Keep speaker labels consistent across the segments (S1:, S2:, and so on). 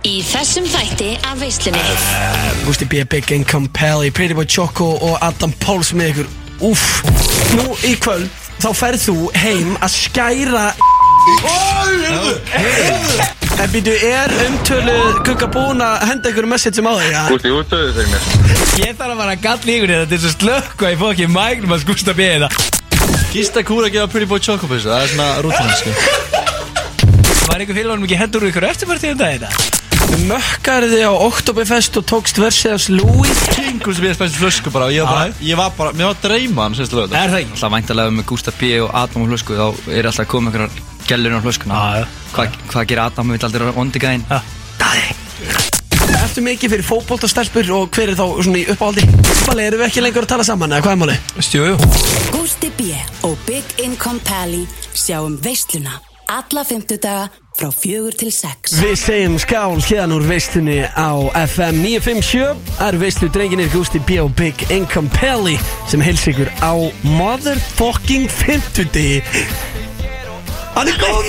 S1: Í þessum þætti af veislunni
S2: Gusti B. Big Income Pelli, Pretty Boy Choco og Adam Páls með ykkur Úff Nú í kvöld þá ferð þú heim að skæra En býtu, er umtölu kukka búin að henda ykkur message um á þig? Ja?
S3: Gústi útöðu fyrir mér
S4: Ég þarf að fara að galla ykkur þetta til þess að slökka í fokki mægnum að skústa hérna. bíða þetta
S5: Gista kúra að gefa Pretty Boy Chocopiss Það er svona sko. rútan sko.
S4: Var einhver félagunum ekki hendur úr ykkur eftirpartíð um daginn þetta?
S2: Mökkaði þig á Oktoberfest og tókst versið hans Louis
S5: King Gústa B er spænsið flösku bara og Ég var bara,
S4: Já.
S5: ég var bara Mér var að dreyma hann sérstu lögðu
S4: Er það ekki?
S6: Alltaf væntalega með Gústa B og Adam á hlösku þá er alltaf að koma einhverjar gellur á hlöskuna
S4: Já, já.
S6: Hvað hva gerir Adam, við aldrei ondi gæðin
S4: Já.
S2: Ertu mikið fyrir fótboltastelpur og hver er þá svona í uppáhaldi? Bali, erum við ekki lengur að tala saman eða hvað er máli?
S4: Stjóðu
S7: Gústi B. og Big Income Pally sjáum veisluna alla fymtudaga frá fjögur til sex.
S2: Við segjum skál hérna úr veistunni á FM 957 Það eru veistu drenginir Gusti B. og Big Income Pelli sem helsi ykkur á motherfucking 50 Hann er góður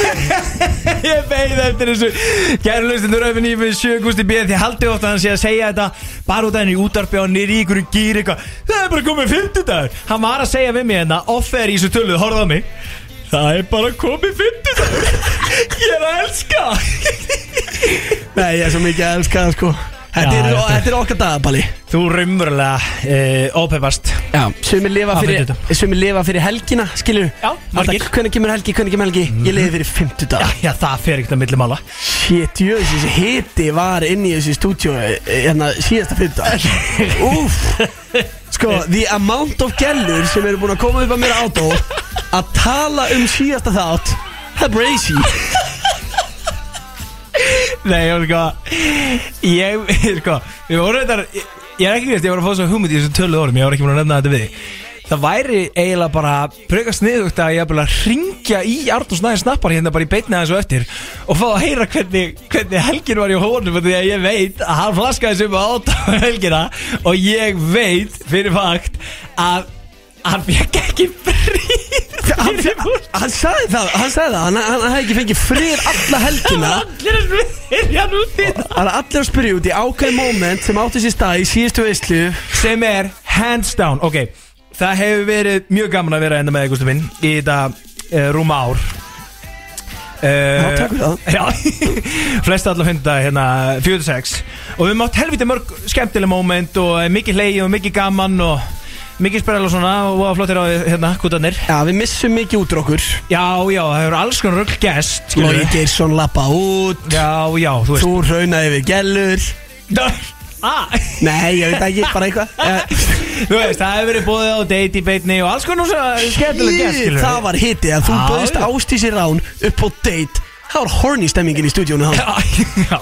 S4: Ég beigð eftir þessu Gæru lausnindur öfum 957 Gústi B Því haldið ofta hann sé að segja þetta Bara út af henni í útarpi á nýri í ykkur gýr eitthvað Það er bara komið 50 dagur Hann var að segja við mig hérna Off er í þessu töluð, horfðu á mig Það er bara komið 50 dagur Ég er að elska
S2: Nei, ég er svo mikið að elska það sko Þetta
S4: Já,
S2: er,
S4: þetta-
S2: þetta er okkar dagabali
S4: Þú raunverulega eh, ópefast
S2: Já, sumir lifa,
S4: Á
S2: fyrir,
S4: 50.
S2: sumir lifa fyrir helgina, skilur
S4: Já, margir. Mhm.
S2: Hvernig kemur helgi, hvernig kemur helgi Ég lifi fyrir 50 dag
S4: Já, já, það fer ekkert að milli mála
S2: Shit, jú, þessi hiti var inn í þessu stúdíu hérna síðasta fyrndag Úf Sko, the amount of gellur sem eru búin að koma upp að mér átó að tala um síðasta þátt Það er brazy
S4: Nei, ég var sko Ég, sko Við vorum þetta Ég ég er ekki veist, ég var að fá svo hugmynd í þessu töluð orðum Ég var ekki búin að nefna þetta við þig. Það væri eiginlega bara Pröka sniðugt að ég er bara að ringja í Arnur Snæði snappar hérna bara í beitni aðeins og eftir Og fá að heyra hvernig, hvernig helgin var í honum Því að ég veit að hann flaskaði sem að átta helgina Og ég veit fyrir fakt Að hann fekk ekki frýr
S2: Hann, hann sagði það, hann sagði það Hann, hann, hann hefði ekki fengið frið alla helgina
S4: Allir er frýr hann út í það
S2: Það er allir að spyrja út í ákveð moment sem átti sér stað í síðustu veislu
S4: sem er hands down ok, það hefur verið mjög gaman að vera enda með Gustaf minn í þetta uh, rúma ár uh,
S2: Já, takk fyrir það.
S4: já, flest allar funda hérna 46 og við mátt helviti mörg skemmtileg moment og eh, mikið leið og mikið gaman og mikið spyrjala og svona og voða flottir á hérna kútanir
S2: Já, við missum mikið út úr okkur
S4: já, já, það hefur alls konar rögg gest skilurðu.
S2: Lói Geirsson lappa út
S4: já, já, þú veist
S2: Þú raunaði við gellur
S4: ah,
S2: Nei, ég veit ekki, bara eitthvað Eh,
S4: þú veist, það hefur verið bóðið á date í beitni og alls konar svona skemmtileg gest
S2: Í,
S4: skilurðu.
S2: Það var hitið að þú
S4: Já,
S2: bauðst
S4: já.
S2: Ástísi Rán upp á date Það var horny stemmingin í stúdíónu hann
S4: Já, já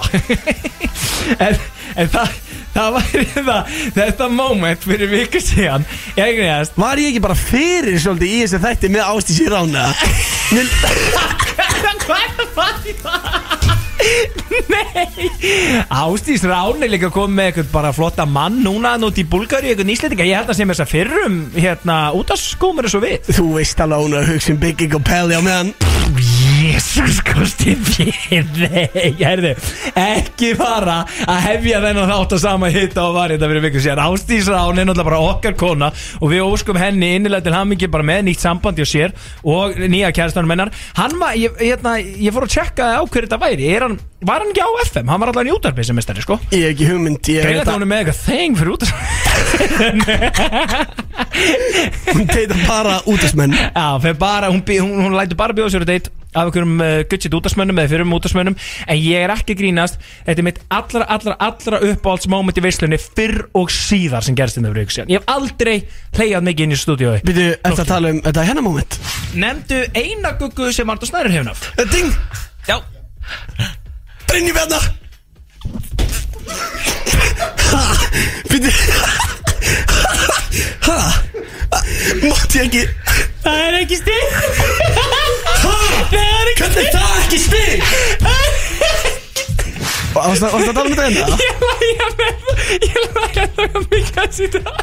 S4: En, en það, það væri það, þetta moment fyrir viku síðan Ég greiðast
S2: Var ég ekki bara fyrir svolítið í þessu þætti með Ástísi Rán eða? Mér-
S4: Nei Ástís Rán er líka komið með eitthvað bara flotta mann núna Nút í Búlgari, eitthvað nýslendinga Ég held að sem þess að fyrrum hérna út að skómur er svo við
S2: Þú veist alveg að hún er að hugsa um bygging og pelli á meðan
S4: Jésús kosti fyrir Herðu, ekki fara að hefja þennan þátt að sama hitta og var þetta fyrir viku síðan Ástís Rán er náttúrulega bara okkar kona og við óskum henni innilega til hamingi bara með nýtt sambandi og sér og nýja kæristanum hennar Hann var, ég, hérna, ég fór að tjekka á hverju þetta væri Er hann, var hann ekki á FM? Hann var allavega í útarpið sem mestari, sko
S2: Ég hef ekki hugmynd Ég
S4: Greinlega
S2: veit
S4: þá hún
S2: að
S4: er með eitthvað þeng fyrir útarpið
S2: hún teita bara útasmenn
S4: Já, fyrir bara, hún, bý- hún, hún lætur bara bjóða sér að deitt af einhverjum uh, guttsitt útarsmönnum eða fyrir um útarsmönnum en ég er ekki að grínast þetta er mitt allra, allra, allra uppáhaldsmoment í veislunni fyrr og síðar sem gerst þetta fyrir ykkur síðan ég hef aldrei hleyjað mikið inn í stúdíói
S2: Býtu, eftir að tala um þetta hennar moment
S4: Nemndu eina guggu sem Arndur Snæður hefur nátt
S2: Eh, Ding,
S4: Já
S2: Brynjum hérna Býtu Ha Mátti ég ekki
S4: Það er ekki stig
S2: Ha
S4: Það er ekki
S2: Hvernig er það ekki spil? Varst það að tala um þetta enda?
S4: Ég lægja með Ég lægja það mikið að sýta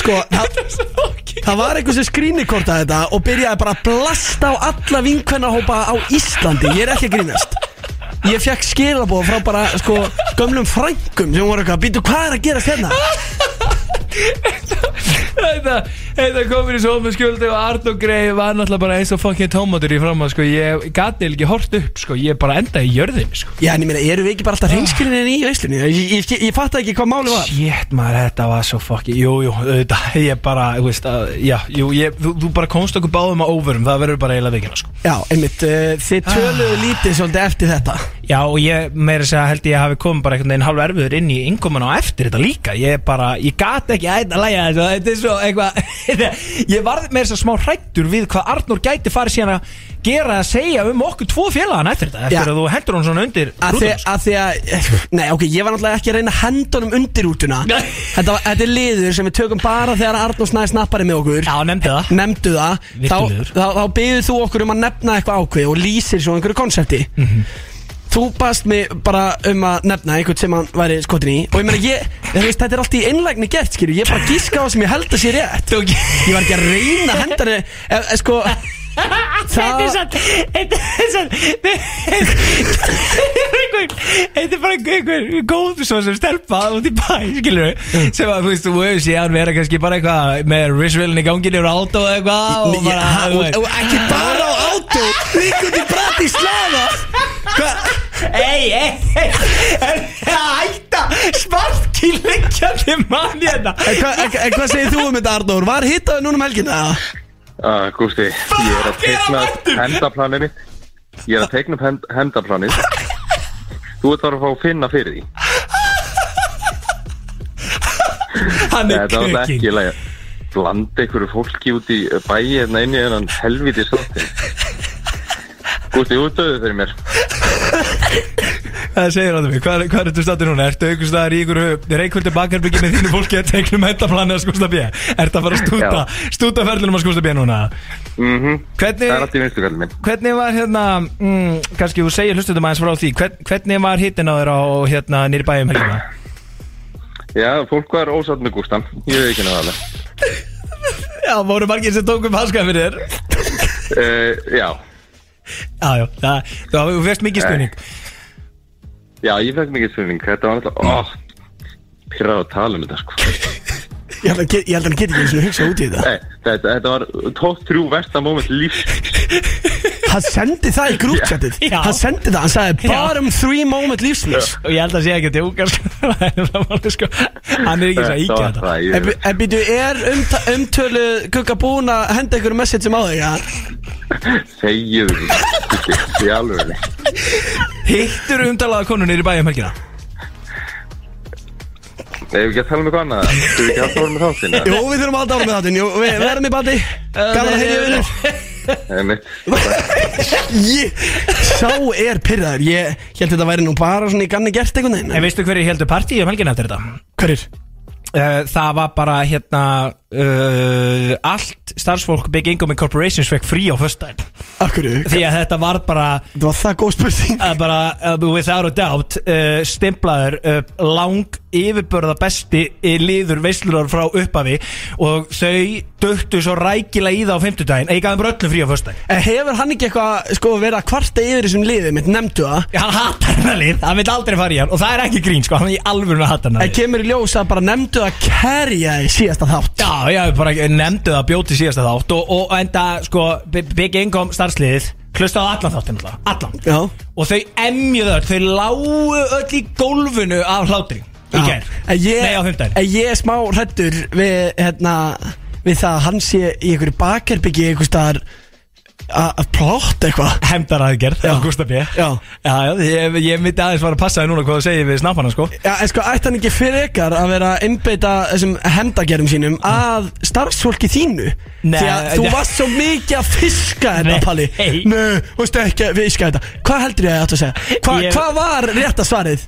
S2: Sko, það,
S4: er svo okki
S2: það var einhver sem skrýnikortaði þetta og byrjaði bara að blasta á alla vinkvennahópa á Íslandi Ég er ekki að grínast Ég fekk skilabóð frá bara sko gömlum frængum sem voru eitthvað Býtu hvað er að gera hérna?
S4: Þetta, þetta komur í sófum skjöldi og Arn og Grey var náttúrulega bara eins og fucking tómatur í fram sko. ég gati ekki hort upp sko. ég bara endaði í jörðin sko.
S2: Já en ég meina, eru við ekki bara alltaf hreinskilinni í veislunni? Ég, ég, ég, ég fatt ekki hvað máli var
S4: Sjétt maður, þetta var svo fucking Jú, jú, þetta, ég bara þú veist, að, já, jú, ég, þú, þú bara komst okkur báðum að óverum það verður bara eiginlega vikina sko.
S2: Já, einmitt, uh, þið töluðu lítið svolítið eftir þetta
S4: Já, og ég meira að segja held ég hafi komið bara einhvern veginn halv erfiður inn í innkomin á eftir þetta líka Ég bara, ég gat ekki að læja þessu Þetta er svo eitthvað Ég varð meira að segja smá hrættur við hvað Arnór gæti farið síðan að gera að segja um okkur tvo félagana eftir þetta Eftir
S2: Já.
S4: að þú hendur hún svona undir
S2: Að því,
S4: rúðuna, sko.
S2: að því að, nei ok, ég var náttúrulega ekki að reyna að henda honum undir útuna
S4: Nei.
S2: þetta, var- þetta er liður sem við tökum bara þegar Arnór Snæði snappari með okkur
S4: Já, nefndi það
S2: nefndu það þá,
S4: Virkur liður.
S2: þá, þá byggðu þú okkur um að nefna eitthvað ákveð og lýsir svo einhverju konsepti
S4: Mhm.
S2: þú baðst mig bara um að nefna einhvern sem hann væri skotin í og ég meina ég, þú veist, þetta er allt í einlægni gert skilju, ég bara gíska á það sem ég held að sé rétt
S4: Þú-
S2: ég var ekki að reyna að henda henni e, e, sko
S4: Þetta er
S2: það,
S4: satt Þetta er satt Þetta er einhver Þetta er bara einhver góð svo sem stelpa út í bæ skilur
S2: Mm.
S4: sem að þú veist þú hefur síðan vera kannski bara eitthvað með risvillinni ganginu og átó eða eitthvað og
S2: ég,
S4: bara
S2: ha,
S4: þú
S2: og,
S4: veist.
S2: og ekki bara á átó líka út í Bratislava
S4: Ei, ei, ei er það Ætta svartkýl lengjandi mann hérna
S2: en hva, en, en hvað segir þú um þetta Arnór var hittaðu núna um helgina eða?
S3: Ah, Gústi, ég er að
S4: Fuck, ég er að
S3: teikna
S4: mættur!
S3: hendaplanið mitt Ég er að teikna upp hend, hendaplanið Þú ert að fara að fá að finna fyrir því Þetta var
S4: Hann er
S3: þetta
S4: krökin
S3: ekki lægja Blanda einhverju fólki út í bæi hérna inn í þennan helviti sáttin Gústi, þú döðu fyrir mér
S4: Það segir hann mig, hvað, hvað ertu statið núna? Ertu einhvers staðar í einhverju reykvöldu bakherbyggi með þínu fólki að teiknum hendaplanið að skústa bíja? Ertu að fara að stúta, stúta ferðlunum að skústa bíja núna?
S3: mm Það er
S4: Hvernig,
S3: allt í vinstu kallið minn
S4: hvernig var hérna, mm, kannski þú segir hlustutum aðeins frá því, hvern, hvernig var hittin á þér á hérna nýri bæjum helgina?
S3: Já, fólk var ósatt með Gústan Ég veit ekki náðalega
S4: Já, voru margir sem tókum hanska fyrir þér?
S3: uh, Já,
S4: Já, já, það, það, þú fyrst mikið stuðning.
S3: Eh. já, ég fekk mikið spurning Þetta var alltaf, ó Pyrrað að tala um þetta sko
S2: ég held að ég held að hann geti ekki einu sinni hugsað út í þetta
S3: Nei, Eh, þetta, þetta var top 3 versta moment lífs
S2: hann sendi það í grúpchatið
S4: Já.
S2: hann sendi það, hann sagði bara um three moment lífsins
S4: Og ég held að sé ekki að djóka, sko, það er nefnilega málið, sko. hann er ekki svo að
S3: Þetta
S4: íkja
S3: Eh, var
S4: þetta.
S2: en
S3: hræðilegt.
S2: by- en býtu, er umta- umtölu Gugga búin að henda ykkur message um á þig ja?
S3: Þegiðu Gústi, Í alveg
S4: Hittur umdalaða konu nýri bæjum helgina?
S3: Nei, við ekki að tala um eitthvað annað Þú veit ekki að tala um þáttina
S2: Jó, við þurfum að halda ára með þáttinn Jú, við við erum í bandi Gaman að hefja vinnur
S3: Nei, mitt.
S2: Ég, sá er pyrraður Ég held þetta væri nú bara svona í ganni gert einhvern veginn
S4: En veistu hverju heldur partíi um helgina eftir þetta?
S2: Hverjir?
S4: Uh, það var bara hérna uh, allt starfsfólk Big Income Corporations fekk frí á föstudaginn
S2: Akkur Þetta
S4: því að þetta var bara,
S2: var það góð spurning
S4: uh, bara uh, without a doubt uh, stimplaður uh, lang yfirbörða besti í liður veislurar frá upphafi og þau döttu svo rækilega í það á fimmtudaginn að ég gaf þeim bara öllum frí á föstudaginn
S2: En Hefur hann ekki eitthvað sko verið að kvarta yfir þessum liðið mitt Nemndu það
S4: hann hattar hennar lið, hann vil aldrei fara í hann og það er ekki grín sko, hann er í alvöru að hattar hennar
S2: En kemur í ljós að bara nemndu það Kerja í síðasta þátt
S4: Já, já, við bara nefndu það bjóti síðasta þátt og, og enda, sko, B- Big Income starfsliðið hlustaði á allan þáttinn alltaf, allan
S2: Já
S4: og þau emjuðu öll, þau lágu öll í gólfinu af hlátri í
S2: Já.
S4: gær,
S2: En ég,
S4: nei á fymtdæn
S2: en ég er smá hrættur við, hérna, við það að hann sé í einhverju bakherbyggi einhver staðar að að plotta eitthvað
S4: Hemdaraðgerð,
S2: Já.
S4: á Gustaf B Já,
S2: Já.
S4: já, ég, ég myndi aðeins fara að passa þið núna hvað þú segir við snappana, sko
S2: Já, en sko, ætti hann ekki fyrir ykkar að vera að einbeita þessum hendagerum sínum að starfsfólki þínu?
S4: Nei.
S2: Því að þú varst svo mikið að fiska þetta,
S4: Nei.
S2: Palli. Nei, veistu ekki að fiska þetta. Hvað heldur ég að ég ætti að segja? Hva,
S4: Ég-
S2: Hvað var rétta svarið?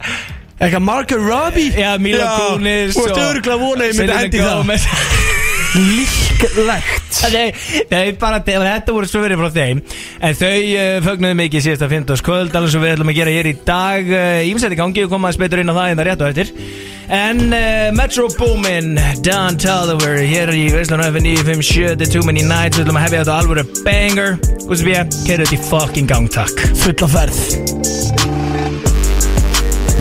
S2: Eitthvað Margot Robbie?
S4: Já, Mila Kunis
S2: og... Þú ert örgulega vonað ég myndi hendi í það. Líklegt.
S4: Nei, nei, bara þetta voru svöverið frá þeim En þau uh, fögnuðu mikið síðasta 15. kvöld Alveg svo við ætlum að gera hér í dag Ímsætti uh, gangi og koma að spytur inn á það En það rétt og eftir En uh, Metro Boomin, Don Tolliver Hér í Veslan FM 957 The Too Many Nights Við ætlum að hefja þetta alvöru banger Guðsum ég, kerðu þetta í fucking gang, takk
S2: Fulla ferð.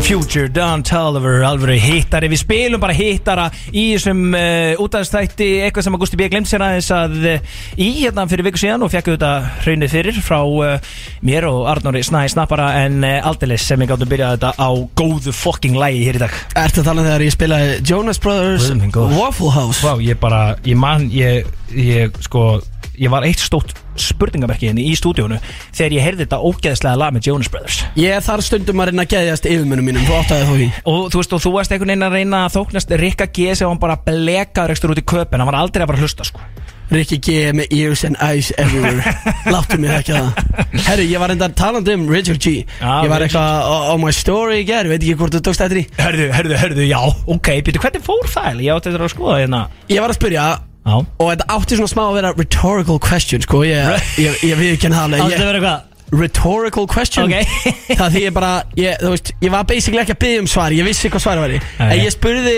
S4: Future, Don Tolliver, alvöru hittari Við spilum bara hittara í þessum uh, útæðstætti Eitthvað sem Augusti B. glemt sér aðeins að uh, í hérna fyrir viku síðan Og fekk auðvitað hraunið fyrir frá uh, mér og Arnóri Snæ Snappara En uh, aldeilis sem við gáttum byrjað þetta á góðu fucking lægi hér í dag
S2: Ertu að tala um þegar ég spilaði Jonas Brothers
S4: Guð minn góður.
S2: Waffle House
S4: Vá, ég bara, ég man, ég, ég sko Ég var eitt stótt spurningamerki henni í stúdíónu Þegar ég heyrði þetta ógeðslega lag með Jonas Brothers
S2: Ég þarf stundum að reyna að geðjast yfirmönnum mínum Þú áttaði þó því
S4: Og þú veist, og þú varst einhvern veginn að reyna að þóknast Rikka G. sem hann bara blekaður ekstra út í köpinn Hann var aldrei að bara hlusta, sko
S2: Rikki G með ears and eyes everywhere Láttu mig ekki það Herru, ég var enda talandi um Richard G
S4: Já,
S2: Ég var
S4: Richard
S2: eitthvað á- á my story í ger Veit ekki hvort þú tókst eftir í
S4: Hörðu, hörðu, hörðu, já, ok, býttu, hvernig fór það? eiginlega? Ég átti þetta að skoða hérna
S2: Ég var að spyrja
S4: Já
S2: Og þetta átti svona smá að vera rhetorical question Sko, ég, ég, ég við ekki hann
S4: Átti að
S2: alveg ég,
S4: vera hvað?
S2: Rhetorical question
S4: Ok.
S2: Það því ég bara ég, Þú veist, ég var basically ekki að byggja um svar Ég vissi hvað svar væri
S4: Já,
S2: En
S4: já.
S2: ég spurði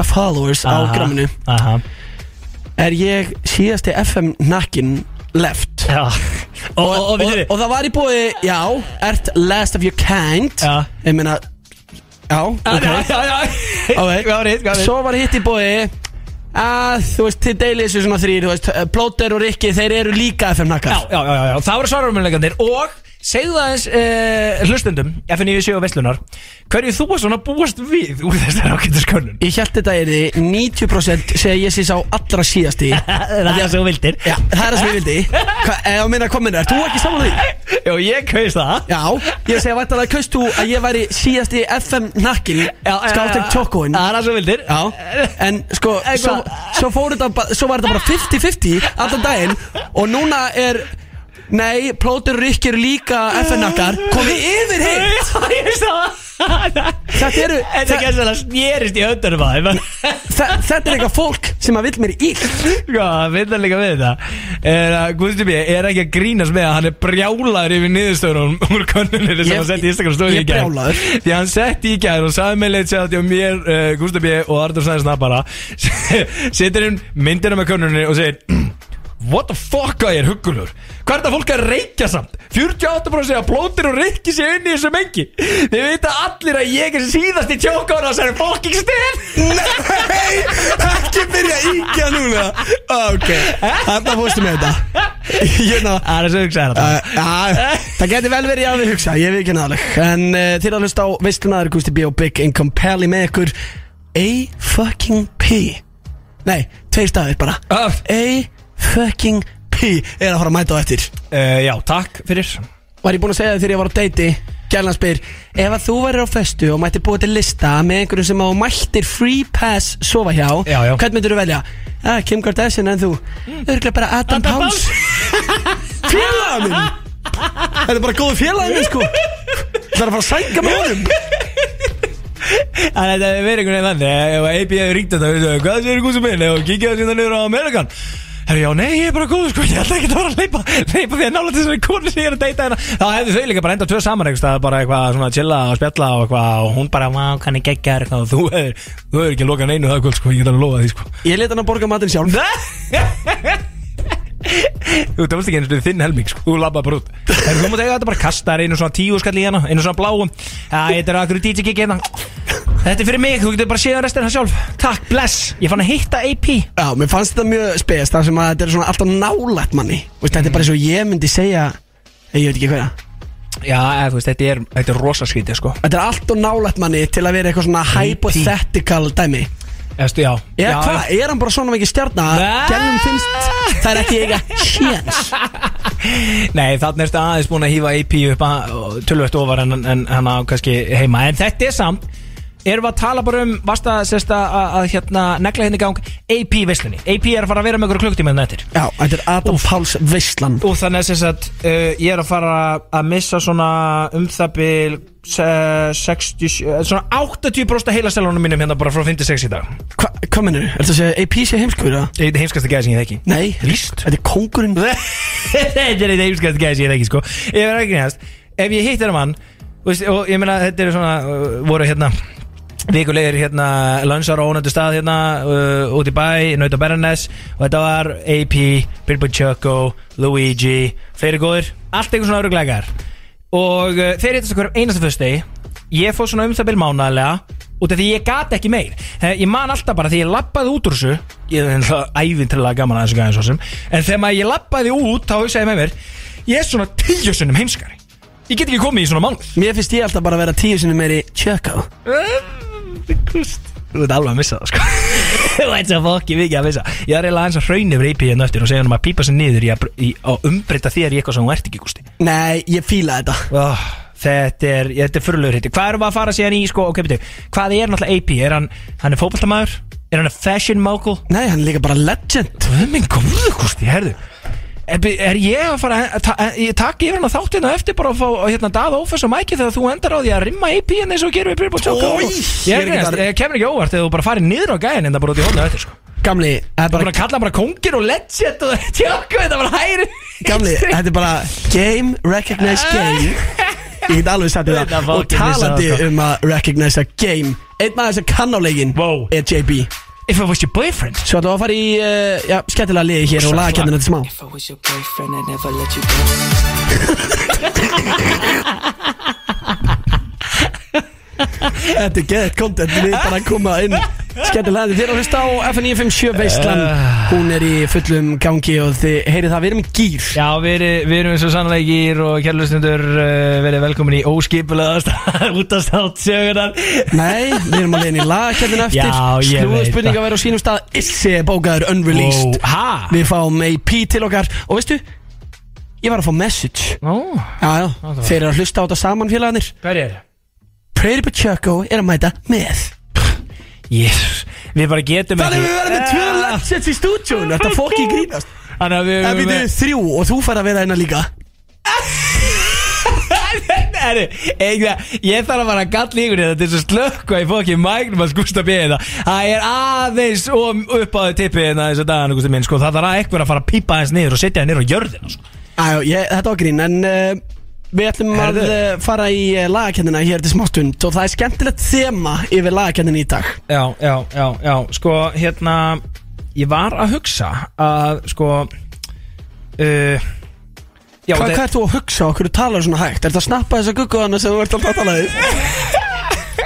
S2: my followers á
S4: Aha,
S2: gramminu
S4: Aha,
S2: Er ég síðasti FM nakkin left
S4: já Og, og, og,
S2: og,
S4: við
S2: og það var í bóði, já, ert last of your kind
S4: Já.
S2: Ég meina, já, ok
S4: Já, já, já
S2: Ok.
S4: Hvað var hitt, hvað var hitt?
S2: Svo var hitt í bóði að, þú veist, þið deilið þessu svona þrýr Þú veist, eh, Plóter og Rikki, þeir eru líka FM
S4: já,
S2: nakkar
S4: já, já, já, já, það voru svararumleikandir og segðu það eins uh, hlustundum FNV7 og Vestlunar hverju þú var svona búast við úr þessar ákendiskönnun
S2: Ég held þetta er því 90% segja ég sé sá allra síðasti
S4: það er svo vildir
S2: Já, það er það sem ég vildi Hva, Eða meina komin er, þú ekki saman því?
S4: já, ég kaust það
S2: Já, ég segja væntanlega kaust þú að ég væri síðasti FM nakkin Skáttir tjókóin
S4: það er svo vildir
S2: Já, en sko svo,
S4: Eitthvað.
S2: svo, fór þetta, ba- svo var þetta bara 50-50 Alltaf daginn Og núna er Nei, plótur rykkir líka FN-nakkar Komið yfir heim
S4: já, ég veist það
S2: Þetta eru-
S4: þetta
S2: þa-
S4: gerst alveg snerist í öndunum að þeim.
S2: Þa- Þetta er eitthvað fólk sem að vill mér illt
S4: sko, það finna líka við þetta er að Guðstu B. er ekki að grínast með að hann er brjálaður yfir niðurstöðunum úr könnunir sem
S2: Ég-
S4: hann setti í Instagram stóri
S2: ég
S4: í gær
S2: brjálaður.
S4: því hann setti í gær og sagði með leitt sér á mér, uh, Guðstu B. og Artur Sæðisna bara setur inn myndina með könnunir og segir What the fuck að ég er huggulur Hvað er þetta fólk að reykja samt? 48% segja að blótir og reykji sér inn í þessu mengi Þið vita allir að ég er síðast í tjókóra sem er fokking stið
S2: Nei, ekki byrja að íkja núna Ok, þarna fórstu með þetta Hérna. Ég ná
S4: Það er svo hugsaðar þetta
S2: Uh, já, það getur vel verið að við hugsa, ég við ekki náðaleg En uh, til að hlusta á veistluna er Gusti B og Big Income Pally með ykkur A fucking P Nei, tveir stafir bara
S4: Ah.
S2: A fucking P er að fara að mæta á eftir
S4: Uh, já, takk fyrir
S2: Var ég búinn að segja það þegar ég var á deiti Gjallan spyr, ef að þú værir á festu og mættir búið til lista með einhverjum sem á mættir free pass sofa hjá
S4: Já, já.
S2: Hvern myndir þú velja? Ja, Kim Kardashian en þú mm. Örglega bara Adam,
S4: Adam
S2: Páls Félaga minn Þetta er bara góðu félaga minn sko Það er að fara að sænka með honum
S4: Þannig að þetta verið einhvern veginn þannig eh, Ef AB hefur ringt þetta, veistu, hvað séu gúsum minn Og kíkja það sínda niður á Amerikan Herri, já, nei, ég er bara góð, sko, ég ætla ekki að vera að leipa Leipa því að nála þessari konu sem ég er að deyta hérna Þá hefðu þau líka bara enda tvö saman einhvers staðar, Bara eitthvað svona að chilla og spjalla og eitthvað Og hún bara, vá, kann ekki ekki eitthvað Og þú hefur, þú hefur ekki lokað neinu það kvöld, sko Ég get alveg lofað því, sko
S2: Ég leta hann að borga matinn sjálf
S4: Þú döfst ekki eins og þinn helming sko, þú labba bara út En þú mátt eiga þetta bara kastar einu svona tíu skall í hana, einu svona bláum Það þetta er akkur DJ gig hérna Þetta er fyrir mig, þú getur bara séð restina sjálf Takk, bless, ég fann að hitta AP
S2: Já, mér fannst þetta mjög spes Það sem að þetta er svona alltaf nálægt manni Vist, Þetta er bara eins og ég myndi segja Ég veit ekki hverja
S4: Já, eða, þú veist, þetta er, þetta er rosa skítið sko
S2: Þetta er alltaf nálægt manni til að vera eitthvað svona hypothetical dæmi
S4: Efstu, já
S2: Eða
S4: já,
S2: hvað, er hann bara svona mikið stjarnar
S4: Nei.
S2: Gellum finnst, það er ekki eiga Sjens
S4: Nei, þarna erstu aðeins búin að hýfa AP upp að tölvögt ofar en, en hann á kannski heima En þetta er samt Erum við að tala bara um vasta sérsta að, að hérna negla henni gang AP veslunni AP er að fara að vera með ykkur klukktíma þannig eftir
S2: Já, þetta er Adam Páls Veistlan
S4: Og þannig að sem sagt, uh, ég er að fara að missa svona um það bil uh, 60, eh, svona 80% af heilastelunum mínum hérna bara frá 56 í dag
S2: Hva, Hvað mennur, er þetta að segja AP sé heimskur eða?
S4: Þetta er heimskasta gæði sem ég þekki
S2: Nei,
S4: Víst.
S2: þetta er kóngurinn
S4: Þetta er þetta heimskasta gæði sem ég þekki sko Ég verð ekki neðast Ef ég hitt er mann þú veist, Og ég meina þetta eru svona, uh, voru hérna Vikulegir hérna, lansar á ónöndu stað hérna uh, Út í bæ, Nauta Bernes Og þetta var AP, Bilbo Choco, Luigi Fleiri góðir, allt einhver svona öruglegar og uh, þeir hittast okkur um einasta föstudegi ég fór svona um það byrjum mánaðlega út af því ég gat ekki meir Eh, ég man alltaf bara því ég lappaði út úr þessu ég er náttúrulega ævintrilega gaman að þessu gæðin svo sem en þegar maður ég lappaði út þá hugsaði ég með mér ég er svona tíu sunnum heimskari ég get ekki komið í svona mánuð
S2: Mér finnst ég alltaf bara að vera tíu sinni meiri tjökká
S4: Kust Þú ert alveg að missa það sko Þú ert svo fokki mikið að missa Ég er eiginlega eins að hraun yfir IP hérna eftir og segja hann um að pípa sig niður í að, br- í, að umbreyta þér í eitthvað sem hún ert ekki gústi
S2: Nei, ég fíla þetta
S4: oh, Þetta er, þetta er fyrirlegur hitti Hvað erum við að fara síðan í sko, ok, betur Hvað er náttúrulega AP, er hann, hann er fótboltamaður Er hann að fashion mogul
S2: Nei, hann er líka bara legend
S4: Guðminn góðu gústi, herðu Er, er ég að fara að ta, ég taka yfir hann að þátt hérna eftir bara að fá hérna dað ófess og mæki þegar þú endar á því að rimma AP en eins og gerum við byrjum á tjóka
S2: Oj,
S4: og-
S2: ég
S4: Ég
S2: er
S4: er
S2: ekki
S4: greinast,
S2: þar.
S4: ég kemur ekki á óvart þegar þú bara farir niður á gæðin en það bara út í hóna eftir sko
S2: Gamli, það er
S4: Þú bara
S2: bara,
S4: að kalla hann bara kongir og legend og tjóka þetta bara hægri
S2: gamli, þetta er bara Game, recognize game Ég get alveg sagt
S4: Þetta
S2: þetta Og
S4: fucking
S2: talandi
S4: vissi það, sko.
S2: um að recognize a game Einn maður sem kann á leikinn
S4: Wow.
S2: er JB
S4: If I was your boyfriend
S2: Svo ætlum við að fara í, uh, já, skemmtilega liði hér og lagakendina þetta smá
S8: If I was your boyfriend, I'd never let you go.
S2: Þetta er geðt content, við bara koma inn Skemmtilega, þið erum að hlusta á FN957 Veistlan
S4: Eh.
S2: Hún er í fullum gangi og þið heyrið það, við erum í gýr
S4: Já, við, erum- við erum eins og sannleikir og kjærlustundur uh, verið velkomin í óskipulegast útastátt sögunar
S2: Nei, við erum að leiðin í lagakendina eftir
S4: Já, ég veit
S2: Slúðspurninga verður á sínum stað Issi er bókaður unreleased
S4: Wow, ha?
S2: Við fáum AP til okkar Og veistu, ég var að fá message
S4: Nú,
S2: Já, já,
S4: það var-
S2: þeir eru að hlusta á þetta saman félagarnir
S4: hver er?
S2: Pretty Pacheco er að mæta með
S4: Yes, við bara getum
S2: Þannig að við verðum með tvö legends í stúdjónu Þetta fokki grínast
S4: Þannig að við
S2: En við erum þrjú og þú fær að vera hérna líka
S4: Herru, eitthvað, ég þarf að fara að galla ykkur þetta til þess að slökka í fokkin mægnum að skústa bíða Það er aðeins og upp á þau tippið hérna þess að dagana, gústi minn, sko Það þarf að eitthvað að fara að pípa hans niður og setja hann niður á jörðina, sko
S2: Æjó, ég, þetta var grín En uh, við ætlum
S4: Herðu.
S2: að uh, fara í uh, lagakennina hér til smástund Og það er skemmtilegt þema yfir lagakennina í dag
S4: Já, já, já, já, sko, hérna, ég var að hugsa að, sko, uh, Já,
S2: Hva, Hvað ert þú að hugsa og hverju talar svona hægt? Er það að snappa þessa gugguðana sem þú ert alltaf að tala þig?